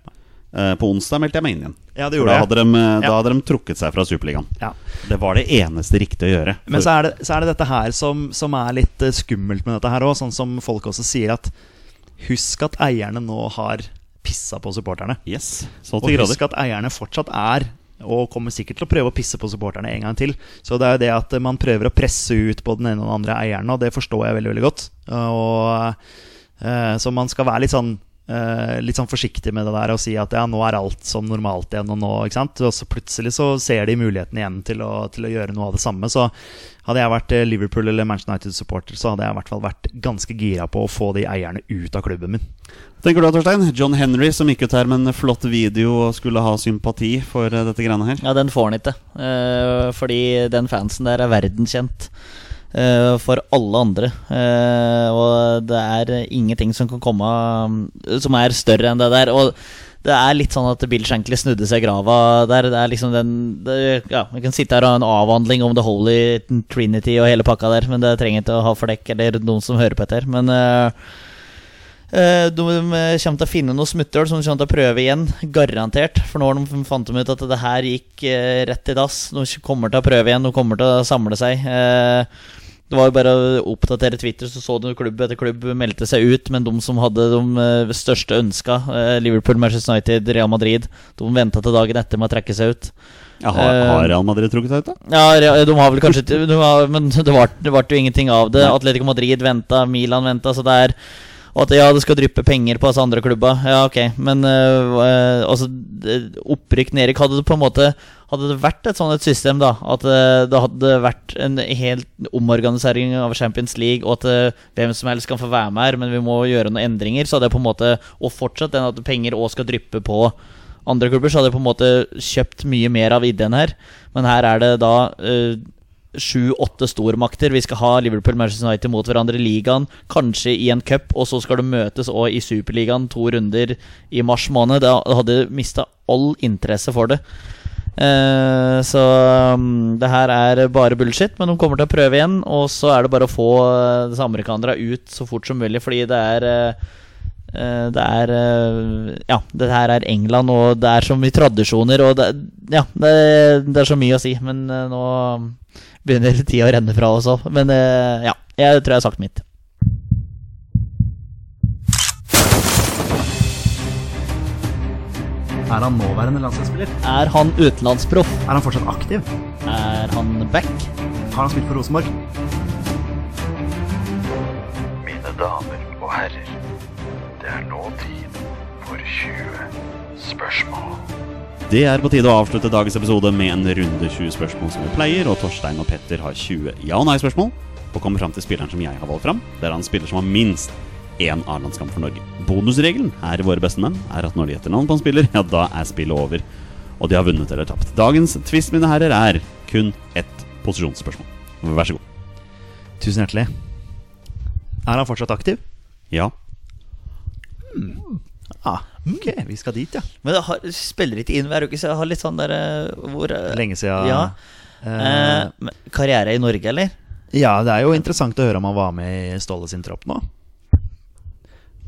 Speaker 2: Eh, På onsdag meldte jeg meg inn igjen.
Speaker 3: Ja, det
Speaker 2: For
Speaker 3: gjorde
Speaker 2: da
Speaker 3: jeg.
Speaker 2: hadde, de, eh, da
Speaker 3: Ja.
Speaker 2: hadde de trukket seg fra Superligaen.
Speaker 3: Ja.
Speaker 2: Det var det eneste riktige å gjøre.
Speaker 3: Men så er det, så er det dette her som, som er litt eh, skummelt med dette her òg, sånn som folk også sier at Husk at eierne nå har pissa på supporterne.
Speaker 2: Yes, så
Speaker 3: Og
Speaker 2: til grader.
Speaker 3: husk at eierne fortsatt er og kommer sikkert til å prøve å pisse på supporterne en gang til. Så det er jo det at man prøver å presse ut både den ene og den andre eieren, og det forstår jeg veldig veldig godt. Og, eh, så man skal være litt sånn eh, litt sånn forsiktig med det der og si at ja, nå er alt som normalt igjen. Og nå, ikke sant? Og så plutselig så ser de muligheten igjen til å, til å gjøre noe av det samme. Så hadde jeg vært eh, Liverpool eller Manchester United-supporter, så hadde jeg i hvert fall vært ganske gira på å få de eierne ut av klubben min.
Speaker 2: Tenker du da, Torstein? John Henry som gikk ut her med en flott video og skulle ha sympati for eh, dette greiene her.
Speaker 1: Ja, den får han ikke. eh, fordi den fansen der er verdenskjent eh, for alle andre. Eh, og det er ingenting som kan komme eh, som er større enn det der. Og det er litt sånn at Bill Shankly snudde seg i grava der. Det er liksom den det, Ja, vi kan sitte her og ha en avhandling om The Holy Trinity og hele pakka der, men det trenger ikke å ha flekk eller noen som hører på dette her. Men eh, Eh, De eh, kommer til å finne noen smutthull som de kommer til å prøve igjen. Garantert. For nå har de fant de ut at det her gikk eh, rett i dass. De kommer til å prøve igjen. De kommer til å samle seg. Eh, Det var jo bare å oppdatere Twitter, så så du klubb etter klubb meldte seg ut. Men de som hadde de eh, største ønska, eh, Liverpool, Manchester United, Real Madrid, de venta til dagen etter med å trekke seg ut.
Speaker 2: Ja, har,
Speaker 1: Eh,
Speaker 2: har Real Madrid trukket seg ut, da?
Speaker 1: Ja, Re- de har vel kanskje de har, Men det ble, det vart jo ingenting av det.
Speaker 2: Nei.
Speaker 1: Atletico Madrid venta, Milan venta, så det er Og at ja, det skal dryppe penger på oss andre klubba. Ja, ok, men øh, øh, altså det- Opprykk nedrykk Hadde det på en måte Hadde det vært et sånt et system, da, at øh, det hadde vært en helt omorganisering av Champions League, og at øh, hvem som helst kan få være med her, men vi må gjøre noen endringer, så hadde jeg på en måte Og fortsatt den at penger òg skal dryppe på andre klubber så hadde jeg på en måte kjøpt mye mer av ideen her. Men her er det da eh, sju-åtte stormakter. Vi skal ha Liverpool Manchester United mot hverandre i ligaen, kanskje i en cup, og så skal de møtes òg i Superligaen to runder i mars måned. Da hadde mista all interesse for det. Eh, så mm, det her er bare bullshit, men de kommer til å prøve igjen. Og så er det bare å få eh, disse amerikanerne ut så fort som mulig, fordi det er eh, Eh, Det er eh, Ja, det her er England, og det er så mye tradisjoner, og det, ja, det, det er så mye å si. Men eh, nå begynner tida å renne fra oss òg. Men eh, ja, jeg tror jeg har sagt mitt.
Speaker 3: Er han nåværende landslagsspiller?
Speaker 1: Er han utenlandsproff?
Speaker 3: Er han fortsatt aktiv?
Speaker 1: Er han back?
Speaker 3: Har han spilt for Rosenborg?
Speaker 5: Mine damer og herrer, det er nå tid for 20 spørsmål.
Speaker 2: Det er på tide å avslutte dagens episode med en runde 20 spørsmål som vi pleier, og Torstein og Petter har 20 ja- og nei-spørsmål og kommer fram til spilleren som jeg har valgt fram. Det er han spiller som har minst én A-landskamp for Norge. Bonusregelen her i Våre bestemenn er at når de gjetter navn på en spiller, ja, da er spillet over, og de har vunnet eller tapt. Dagens twist, mine herrer, er kun ett posisjonsspørsmål. Vær så god.
Speaker 3: Tusen hjertelig. Er han fortsatt aktiv?
Speaker 2: Ja.
Speaker 3: Ja.
Speaker 1: Mm.
Speaker 3: Ok, vi skal dit, ja.
Speaker 1: Men det har, spiller ikke inn hver uke, så jeg har litt sånn der eh, hvor, eh,
Speaker 3: Lenge siden.
Speaker 1: Ja.
Speaker 3: Eh,
Speaker 1: Eh, men karriere i Norge, eller?
Speaker 3: ja, det er jo interessant å høre om han var med i Ståle sin tropp nå.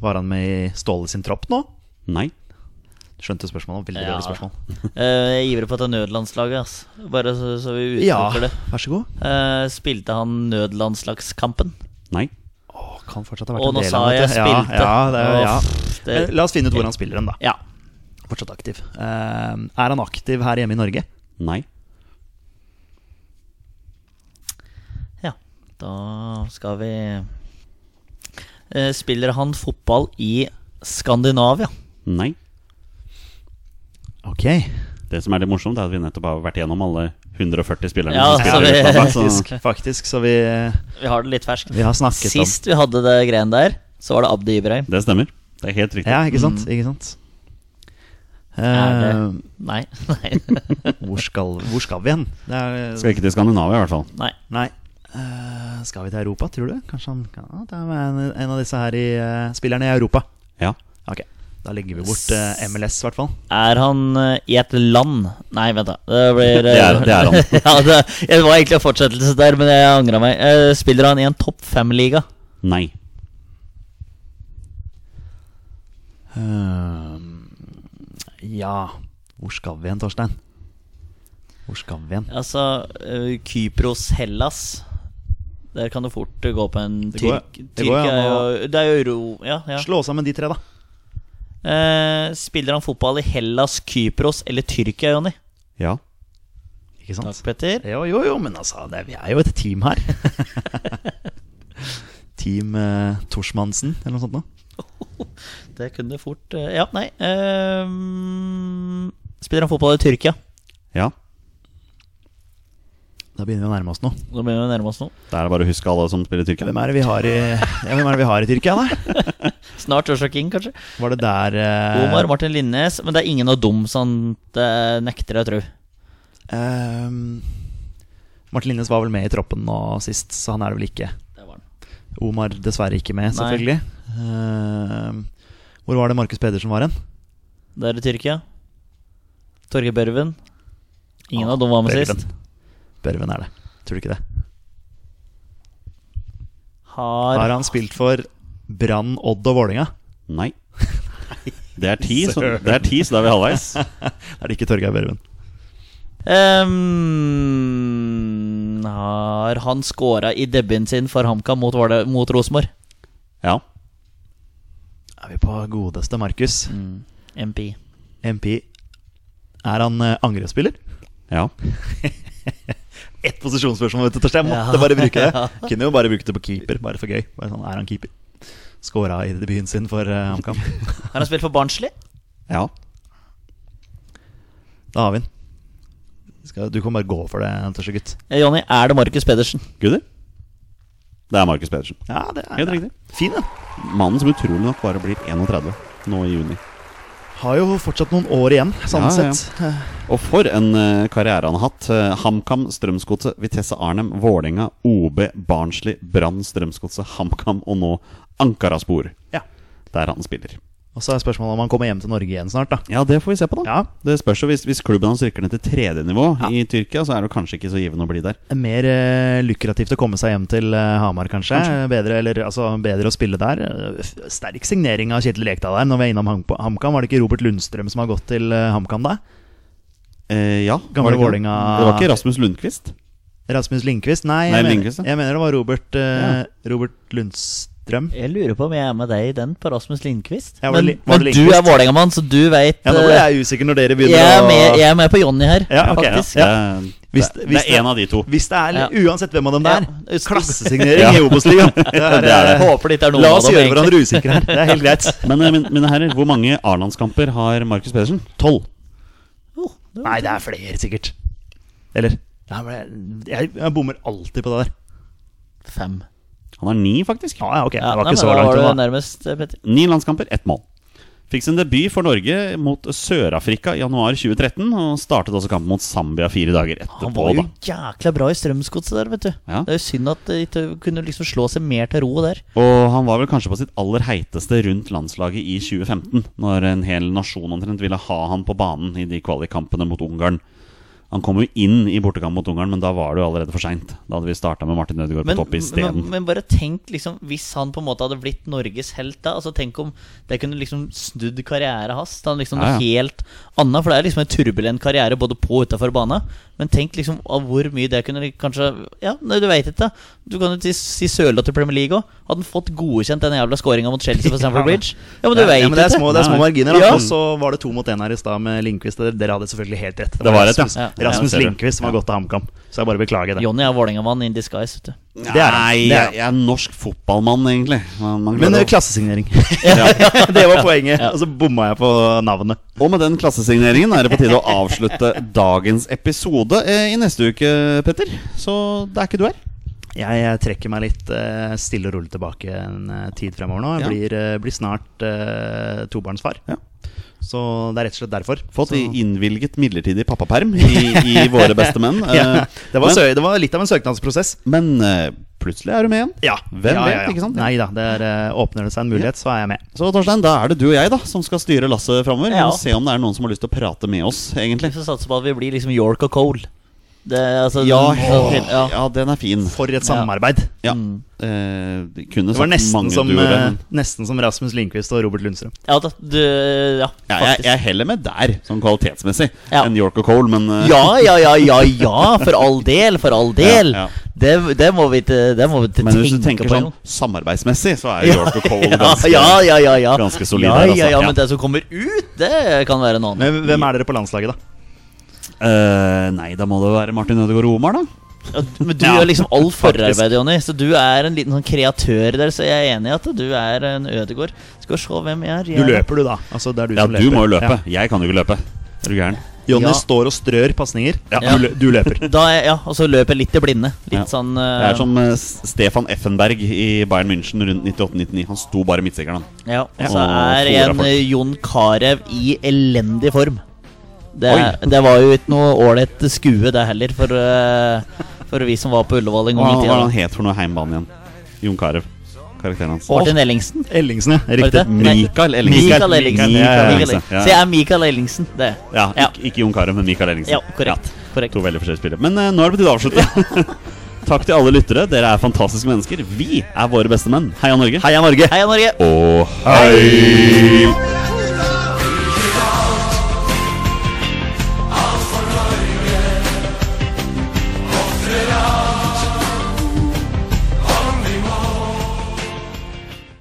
Speaker 3: Var han med i Ståle sin tropp nå?
Speaker 2: Nei.
Speaker 3: Skjønte spørsmålet. Veldig
Speaker 1: Ja.
Speaker 3: dårlig spørsmål.
Speaker 1: Eh, jeg ivrer på at det er nødlandslaget, ass. Bare så, så vi
Speaker 3: Ja,
Speaker 1: utelukker det.
Speaker 3: vær så god.
Speaker 1: Eh, spilte han nødlandslagskampen?
Speaker 2: Nei.
Speaker 3: Å, kan fortsatt ha vært
Speaker 1: Og
Speaker 3: en
Speaker 1: nå
Speaker 3: del
Speaker 1: sa
Speaker 3: av det.
Speaker 1: jeg spilte.
Speaker 3: Ja, ja, det, er- ja.
Speaker 1: Åh, det-
Speaker 3: Eh, La oss finne ut hvor han spiller hen, da.
Speaker 1: Ja.
Speaker 3: Fortsatt aktiv. Eh, er han aktiv her hjemme i Norge?
Speaker 2: Nei.
Speaker 1: ja. Da skal vi eh, Spiller han fotball i Skandinavia?
Speaker 2: Nei.
Speaker 3: Ok.
Speaker 2: Det som er litt morsomt, er at vi nettopp har vært gjennom alle 140 spillerne
Speaker 1: Ja,
Speaker 2: som
Speaker 1: Ah, så
Speaker 2: spiller
Speaker 1: vi-
Speaker 2: i Europa, så-
Speaker 3: Faktisk, faktisk så vi, eh,
Speaker 1: Vi har det litt ferskt.
Speaker 3: vi har snakket
Speaker 1: Sist vi hadde det greiene der, så var det Abdi Ibrahim.
Speaker 2: Det stemmer. Det er helt riktig.
Speaker 3: om Ja, ikke sant? Ikke sant?
Speaker 1: Er Nei. Nei.
Speaker 3: Eh, hvor, skal, hvor skal vi hen? Det er,
Speaker 2: Skal ikke til Skandinavia, i hvert fall.
Speaker 1: Nei.
Speaker 3: Nei. Eh, skal vi til Europa, tror du? Kanskje han kan ja, Det er en, en av disse her i, eh, spillerne i Europa.
Speaker 2: Ja.
Speaker 3: Ok, Da legger vi bort eh, MLS, i hvert fall.
Speaker 1: Er han eh, i et land Nei, vent, da. Det, blir, eh,
Speaker 2: Det er- det er han.
Speaker 1: ja, det, det var egentlig en fortsettelse der, men jeg angra meg. Eh, Spiller han i en topp fem-liga?
Speaker 2: Nei.
Speaker 3: Eh, ja Hvor skal vi hen, Torstein? Hvor skal vi hen?
Speaker 1: Altså eh, Kypros, Hellas Der kan du fort eh, gå på en
Speaker 3: Det går-
Speaker 1: tyrk...
Speaker 3: det går
Speaker 1: Tyrkia er jo
Speaker 3: an
Speaker 1: Det er jo euro... Ja, ja.
Speaker 3: Slå sammen de tre, da.
Speaker 1: Eh, spiller han fotball i Hellas, Kypros eller Tyrkia, Jonny?
Speaker 2: Ja.
Speaker 3: Ikke sant?
Speaker 1: Takk, Petter.
Speaker 3: Jo, jo, jo, men altså, det, vi er jo et team her. team eh, Torsmannsen, eller noe sånt noe.
Speaker 1: Det kunne fort eh, Ja, nei. eh, spiller han fotball i Tyrkia?
Speaker 2: Ja.
Speaker 3: Da begynner vi å nærme oss noe.
Speaker 1: Nå begynner vi å nærme oss noe.
Speaker 2: Da er det bare å huske alle som spiller i Tyrkia.
Speaker 3: Hvem er det vi har i, ja, hvem er det vi har i Tyrkia, da?
Speaker 1: Snart Joshua King, kanskje.
Speaker 3: Var det der eh,
Speaker 1: Omar Martin Linnes. Men det er ingen av dem som det nekter jeg å tro.
Speaker 3: eh, Martin Linnes var vel med i troppen nå sist, så han er det vel ikke.
Speaker 1: Det var han.
Speaker 3: Omar dessverre ikke med, selvfølgelig. Eh, hvor var det Markus Pedersen var hen?
Speaker 1: Det er i Tyrkia. Torgeir Børven. Ingen av dem var med
Speaker 3: Børven.
Speaker 1: sist.
Speaker 3: Børven er det. Tror du ikke det?
Speaker 1: Har
Speaker 3: Har han spilt for Brann, Odd og Vålinga?
Speaker 2: Nei. Det er ti, så, det er ti, så da er vi halvveis.
Speaker 3: Er det ikke Torgeir Børven?
Speaker 1: Ehm, Har han scora i debuten sin for HamKam mot, Våle- mot Rosenborg?
Speaker 2: Ja.
Speaker 3: Er vi på godeste Markus?
Speaker 1: MP.
Speaker 3: MP. Er han eh, angrepsspiller?
Speaker 2: Ja.
Speaker 3: Ett posisjonsspørsmål, vet du, Torstein. Jeg måtte
Speaker 1: Ja.
Speaker 3: bare bruke det.
Speaker 1: Ja.
Speaker 3: Kunne jo bare bruke det på keeper, bare for gøy. Bare sånn, er han keeper? Skåra i debuten sin for eh, HamKam.
Speaker 1: Har han spilt for Barnsley?
Speaker 2: Ja.
Speaker 3: Da har vi den. Skal, du kan bare gå for det, Torstein gutt.
Speaker 1: Eh, Jonny, er det Markus Pedersen?
Speaker 2: Guder? Det er Markus Pedersen.
Speaker 3: Ja, det er
Speaker 2: Helt riktig.
Speaker 3: Fin, den.
Speaker 2: Mannen som utrolig nok bare blir 31 nå i juni.
Speaker 3: Har jo fortsatt noen år igjen, sånn
Speaker 2: Ja, ja, ja.
Speaker 3: sett. Eh,
Speaker 2: Og for en eh, karriere han har hatt. Eh, HamKam, Strømsgodset, Vitesse Arnem, Vålerenga, OB, Barnsli, Brann, Strømsgodset, HamKam og nå Ankaraspor,
Speaker 3: Ja.
Speaker 2: der han spiller.
Speaker 3: Og så er spørsmålet om han kommer hjem til Norge igjen snart, da.
Speaker 2: Ja, det får vi se på, da.
Speaker 3: Ja.
Speaker 2: Det spørs jo hvis, hvis klubben hans rykker ned til tredje nivå i Tyrkia, så er det jo kanskje ikke så givende å bli der.
Speaker 3: Mer eh, lukrativt å komme seg hjem til eh, Hamar, kanskje. Bedre, eller, altså, bedre å spille der. Eh, f- Sterk signering av Kjetil Rekdal der. Når vi er innom Hamp- HamKam, var det ikke Robert Lundstrøm som har gått til eh, HamKam da?
Speaker 2: Eh, ja, var
Speaker 3: Gamle
Speaker 2: det ikke-
Speaker 3: Vålinga-
Speaker 2: Det var ikke Rasmus Lundqvist?
Speaker 3: Rasmus Lindqvist? Nei,
Speaker 2: Nei,
Speaker 3: jeg,
Speaker 2: Lindqvist, ja.
Speaker 3: mener, jeg mener det var Robert, eh, Robert Lundstrøm. drøm.
Speaker 1: Jeg lurer på om jeg er med deg i den på Rasmus Lindqvist.
Speaker 3: Ja, var
Speaker 1: men
Speaker 3: det li- var
Speaker 1: men
Speaker 3: det
Speaker 1: du
Speaker 3: Lindqvist?
Speaker 1: er Vålerenga-mann, så du veit
Speaker 3: Ja, nå ble jeg usikker når dere
Speaker 1: jeg,
Speaker 3: begynner
Speaker 1: er
Speaker 3: å
Speaker 1: med- Eh, jeg er med på Jonny her,
Speaker 3: Ja, ok, ja.
Speaker 1: faktisk.
Speaker 2: Det er,
Speaker 3: Hvis-
Speaker 2: det,
Speaker 3: hvis
Speaker 2: det er en av de to.
Speaker 3: Hvis det er Uansett hvem av dem det
Speaker 1: Ja.
Speaker 3: er.
Speaker 1: Hvis-
Speaker 3: Klassesignering
Speaker 2: Ja.
Speaker 3: i Obos-ligaen. Det er,
Speaker 2: Det er det.
Speaker 1: Jeg håper det ikke er noen
Speaker 3: La
Speaker 1: av
Speaker 3: oss
Speaker 1: dem,
Speaker 3: gjøre
Speaker 1: egentlig.
Speaker 3: hverandre usikre her. Det er helt greit.
Speaker 2: Men eh, min- mine herrer, hvor mange A-landskamper har Markus Pedersen? Tolv.
Speaker 3: Nei, det er flere, sikkert. Eller? Nei, men jeg- jeg, jeg bommer alltid på det der.
Speaker 1: Fem.
Speaker 2: Han har ni, faktisk.
Speaker 3: Ja, ja, ok.
Speaker 1: Ja,
Speaker 3: det
Speaker 1: nei,
Speaker 3: var ikke
Speaker 1: men
Speaker 3: så
Speaker 1: da
Speaker 3: langt.
Speaker 1: var du
Speaker 3: unna.
Speaker 1: nærmest, eh, Petter.
Speaker 2: Ni landskamper, ett mål. Fikk sin debut for Norge mot Sør-Afrika i januar 2013, og startet også kampen mot Zambia fire dager etterpå.
Speaker 1: Han var jo
Speaker 2: da.
Speaker 1: jækla bra i Strømsgodset der, vet du.
Speaker 2: Ja.
Speaker 1: Det er jo synd at de ikke kunne liksom slå seg mer til ro der.
Speaker 2: Og han var vel kanskje på sitt aller heiteste rundt landslaget i 2015, når en hel nasjon omtrent ville ha han på banen i de kvalikkampene mot Ungarn. Han kom jo inn i bortekamp mot Ungarn, men da var det jo allerede for seint. Da hadde vi starta med Martin Ødegaard på
Speaker 1: Men,
Speaker 2: topp
Speaker 1: men,
Speaker 2: isteden.
Speaker 1: men bare tenk, liksom, hvis han på en måte hadde blitt Norges helt da Altså Tenk om det kunne liksom snudd karrieren hans til liksom noe
Speaker 2: Ja, ja.
Speaker 1: helt annet. For det er liksom en turbulent karriere både på og utafor banen. Men tenk liksom av hvor mye det kunne kanskje Ja, nei, du veit ikke. da. Du kan jo si- si Sørloth i Premier League òg. Hadde han fått godkjent den jævla scoringa mot Chelsea på Stamford Bridge? Ja, men du
Speaker 3: Ja,
Speaker 1: vet
Speaker 3: men det er
Speaker 1: ikke.
Speaker 3: små, det er små
Speaker 2: Nei.
Speaker 3: marginer. Da.
Speaker 1: Ja.
Speaker 3: Og så var det to mot én her i stad med Lindqvist. Dere- Dere hadde selvfølgelig helt rett.
Speaker 2: Det var rett, ja.
Speaker 3: Rasmus,
Speaker 2: Ja.
Speaker 3: Rasmus
Speaker 2: Ja, ser du.
Speaker 3: Lindqvist som har gått til HamKam. Så jeg bare beklager det.
Speaker 1: Jonny er Vålerenga-mann in disguise, vet du.
Speaker 3: det er han.
Speaker 2: Nei,
Speaker 3: Det er
Speaker 2: jeg,
Speaker 3: han.
Speaker 2: jeg er norsk fotballmann, egentlig. Man, man
Speaker 3: Men
Speaker 2: klarer
Speaker 3: eh,
Speaker 2: å-
Speaker 3: klassesignering. det var poenget. Og så bomma jeg på navnet.
Speaker 2: Og med den klassesigneringen er det på tide å avslutte dagens episode eh, i neste uke, Petter. Så det er ikke du her.
Speaker 3: Jeg eh, trekker meg litt eh, stille og rolig tilbake en eh, tid fremover nå. Jeg
Speaker 2: Ja.
Speaker 3: blir, eh, blir snart eh, tobarnsfar.
Speaker 2: Ja.
Speaker 3: Så det er rett og slett derfor.
Speaker 2: Fått
Speaker 3: så,
Speaker 2: i- innvilget midlertidig pappaperm i, i Våre beste menn. Eh,
Speaker 3: ja, det, var
Speaker 2: men-
Speaker 3: sø, det var litt av en søknadsprosess.
Speaker 2: Men eh, plutselig er du med igjen.
Speaker 3: Ja,
Speaker 2: Hvem
Speaker 3: ja, ja, ja.
Speaker 2: vet, ikke sant?
Speaker 3: Nei da. det er, eh, Åpner det seg en mulighet, så er jeg med.
Speaker 2: Så Torstein, da er det du og jeg da som skal styre lasset framover.
Speaker 1: Ja.
Speaker 2: Og se om det er noen som har lyst til å prate med oss, egentlig.
Speaker 1: Vi får satse på at vi blir liksom York og Cole. Det, er altså,
Speaker 2: Ja,
Speaker 1: den- ja.
Speaker 2: ja den er fin.
Speaker 3: For et samarbeid.
Speaker 2: Ja. Eh, de kunne
Speaker 3: Det var
Speaker 2: sagt
Speaker 3: nesten
Speaker 2: mange
Speaker 3: som,
Speaker 2: duoer,
Speaker 3: eh,
Speaker 2: men-
Speaker 3: nesten som Rasmus Lindqvist og Robert Lundstrøm.
Speaker 1: Ja, da, du, ja,
Speaker 2: ja, jeg,
Speaker 1: faktisk.
Speaker 2: jeg er heller med der, sånn kvalitetsmessig,
Speaker 1: Ja.
Speaker 2: enn York og Cole, men eh,
Speaker 1: Ja, ja, ja, ja, ja, for all del, for all del.
Speaker 2: Ja, ja.
Speaker 1: Det, det må vi ikke det må vi ikke
Speaker 2: Men hvis du
Speaker 1: tenke
Speaker 2: tenker
Speaker 1: på.
Speaker 2: sånn
Speaker 1: jo.
Speaker 2: samarbeidsmessig, så er York og Cole
Speaker 1: ja,
Speaker 2: ganske
Speaker 1: ja, ja, ja, ja.
Speaker 2: ganske solid
Speaker 1: ja,
Speaker 2: her,
Speaker 1: ja,
Speaker 2: altså.
Speaker 1: ja,
Speaker 2: Ja.
Speaker 1: men det som kommer ut, det kan være en annen.
Speaker 3: Men hvem er dere på landslaget, da?
Speaker 2: Eh, Nei, da må det være Martin Ødegaard Omar, da.
Speaker 1: Ja, Men du
Speaker 3: Ja,
Speaker 1: gjør liksom all
Speaker 3: faktisk.
Speaker 1: forarbeidet, Jonny. Så du er en liten sånn kreatør der, så jeg er enig i at du er en Ødegård. Skal vi se hvem jeg er.
Speaker 3: Du
Speaker 1: Jeg-
Speaker 3: løper, du, da. Altså, det er du
Speaker 2: Ja,
Speaker 3: som
Speaker 2: du må jo løpe.
Speaker 3: Ja.
Speaker 2: Jeg kan jo ikke løpe. Er du gæren?
Speaker 3: Jonny
Speaker 1: Ja.
Speaker 3: står og strør pasninger.
Speaker 1: Ja.
Speaker 3: Du, lø- du løper.
Speaker 1: Da er, ja, og så løper jeg litt i blinde. Litt
Speaker 2: Ja.
Speaker 1: sånn
Speaker 2: Det
Speaker 1: eh,
Speaker 2: er som eh, S- Stefan Effenberg i Bayern München rundt 98-99. Han sto bare i midtsekkeren, han.
Speaker 1: Ja, og så
Speaker 2: Og
Speaker 1: er
Speaker 2: fôra
Speaker 1: en
Speaker 2: folk.
Speaker 1: eh, Jon Carew i elendig form. Det,
Speaker 2: Oi.
Speaker 1: det var jo ikke noe ålreit skue, det heller, for, eh, for vi som var på Ullevål en
Speaker 2: Hva
Speaker 1: gang
Speaker 2: hva
Speaker 1: i
Speaker 2: var det han
Speaker 1: tida.
Speaker 2: het for noe heimbanen igjen? Jon Carew. Karakteren hans.
Speaker 1: Martin Ellingsen.
Speaker 3: Ellingsen, ja.
Speaker 1: Var det
Speaker 3: Riktig.
Speaker 1: det? Nei.
Speaker 2: Mikael Ellingsen.
Speaker 1: Mikael Ellingsen.
Speaker 2: Mikael
Speaker 1: Mikael
Speaker 2: Ellingsen.
Speaker 1: Ellingsen.
Speaker 2: Ja,
Speaker 1: Så jeg er Mikael Ellingsen, det.
Speaker 2: Ja,
Speaker 1: Ja.
Speaker 2: Ikke, ikke Jon Carew, men Mikael Ellingsen.
Speaker 1: Ja, korrekt.
Speaker 2: Ja,
Speaker 1: korrekt.
Speaker 2: To veldig forskjellige spillere. Men eh, nå er det på tide å avslutte. Takk til alle lyttere. Dere er fantastiske mennesker. Vi er våre beste menn. Heia Norge.
Speaker 3: Heia Norge!
Speaker 1: Heia Norge!
Speaker 2: Og hei!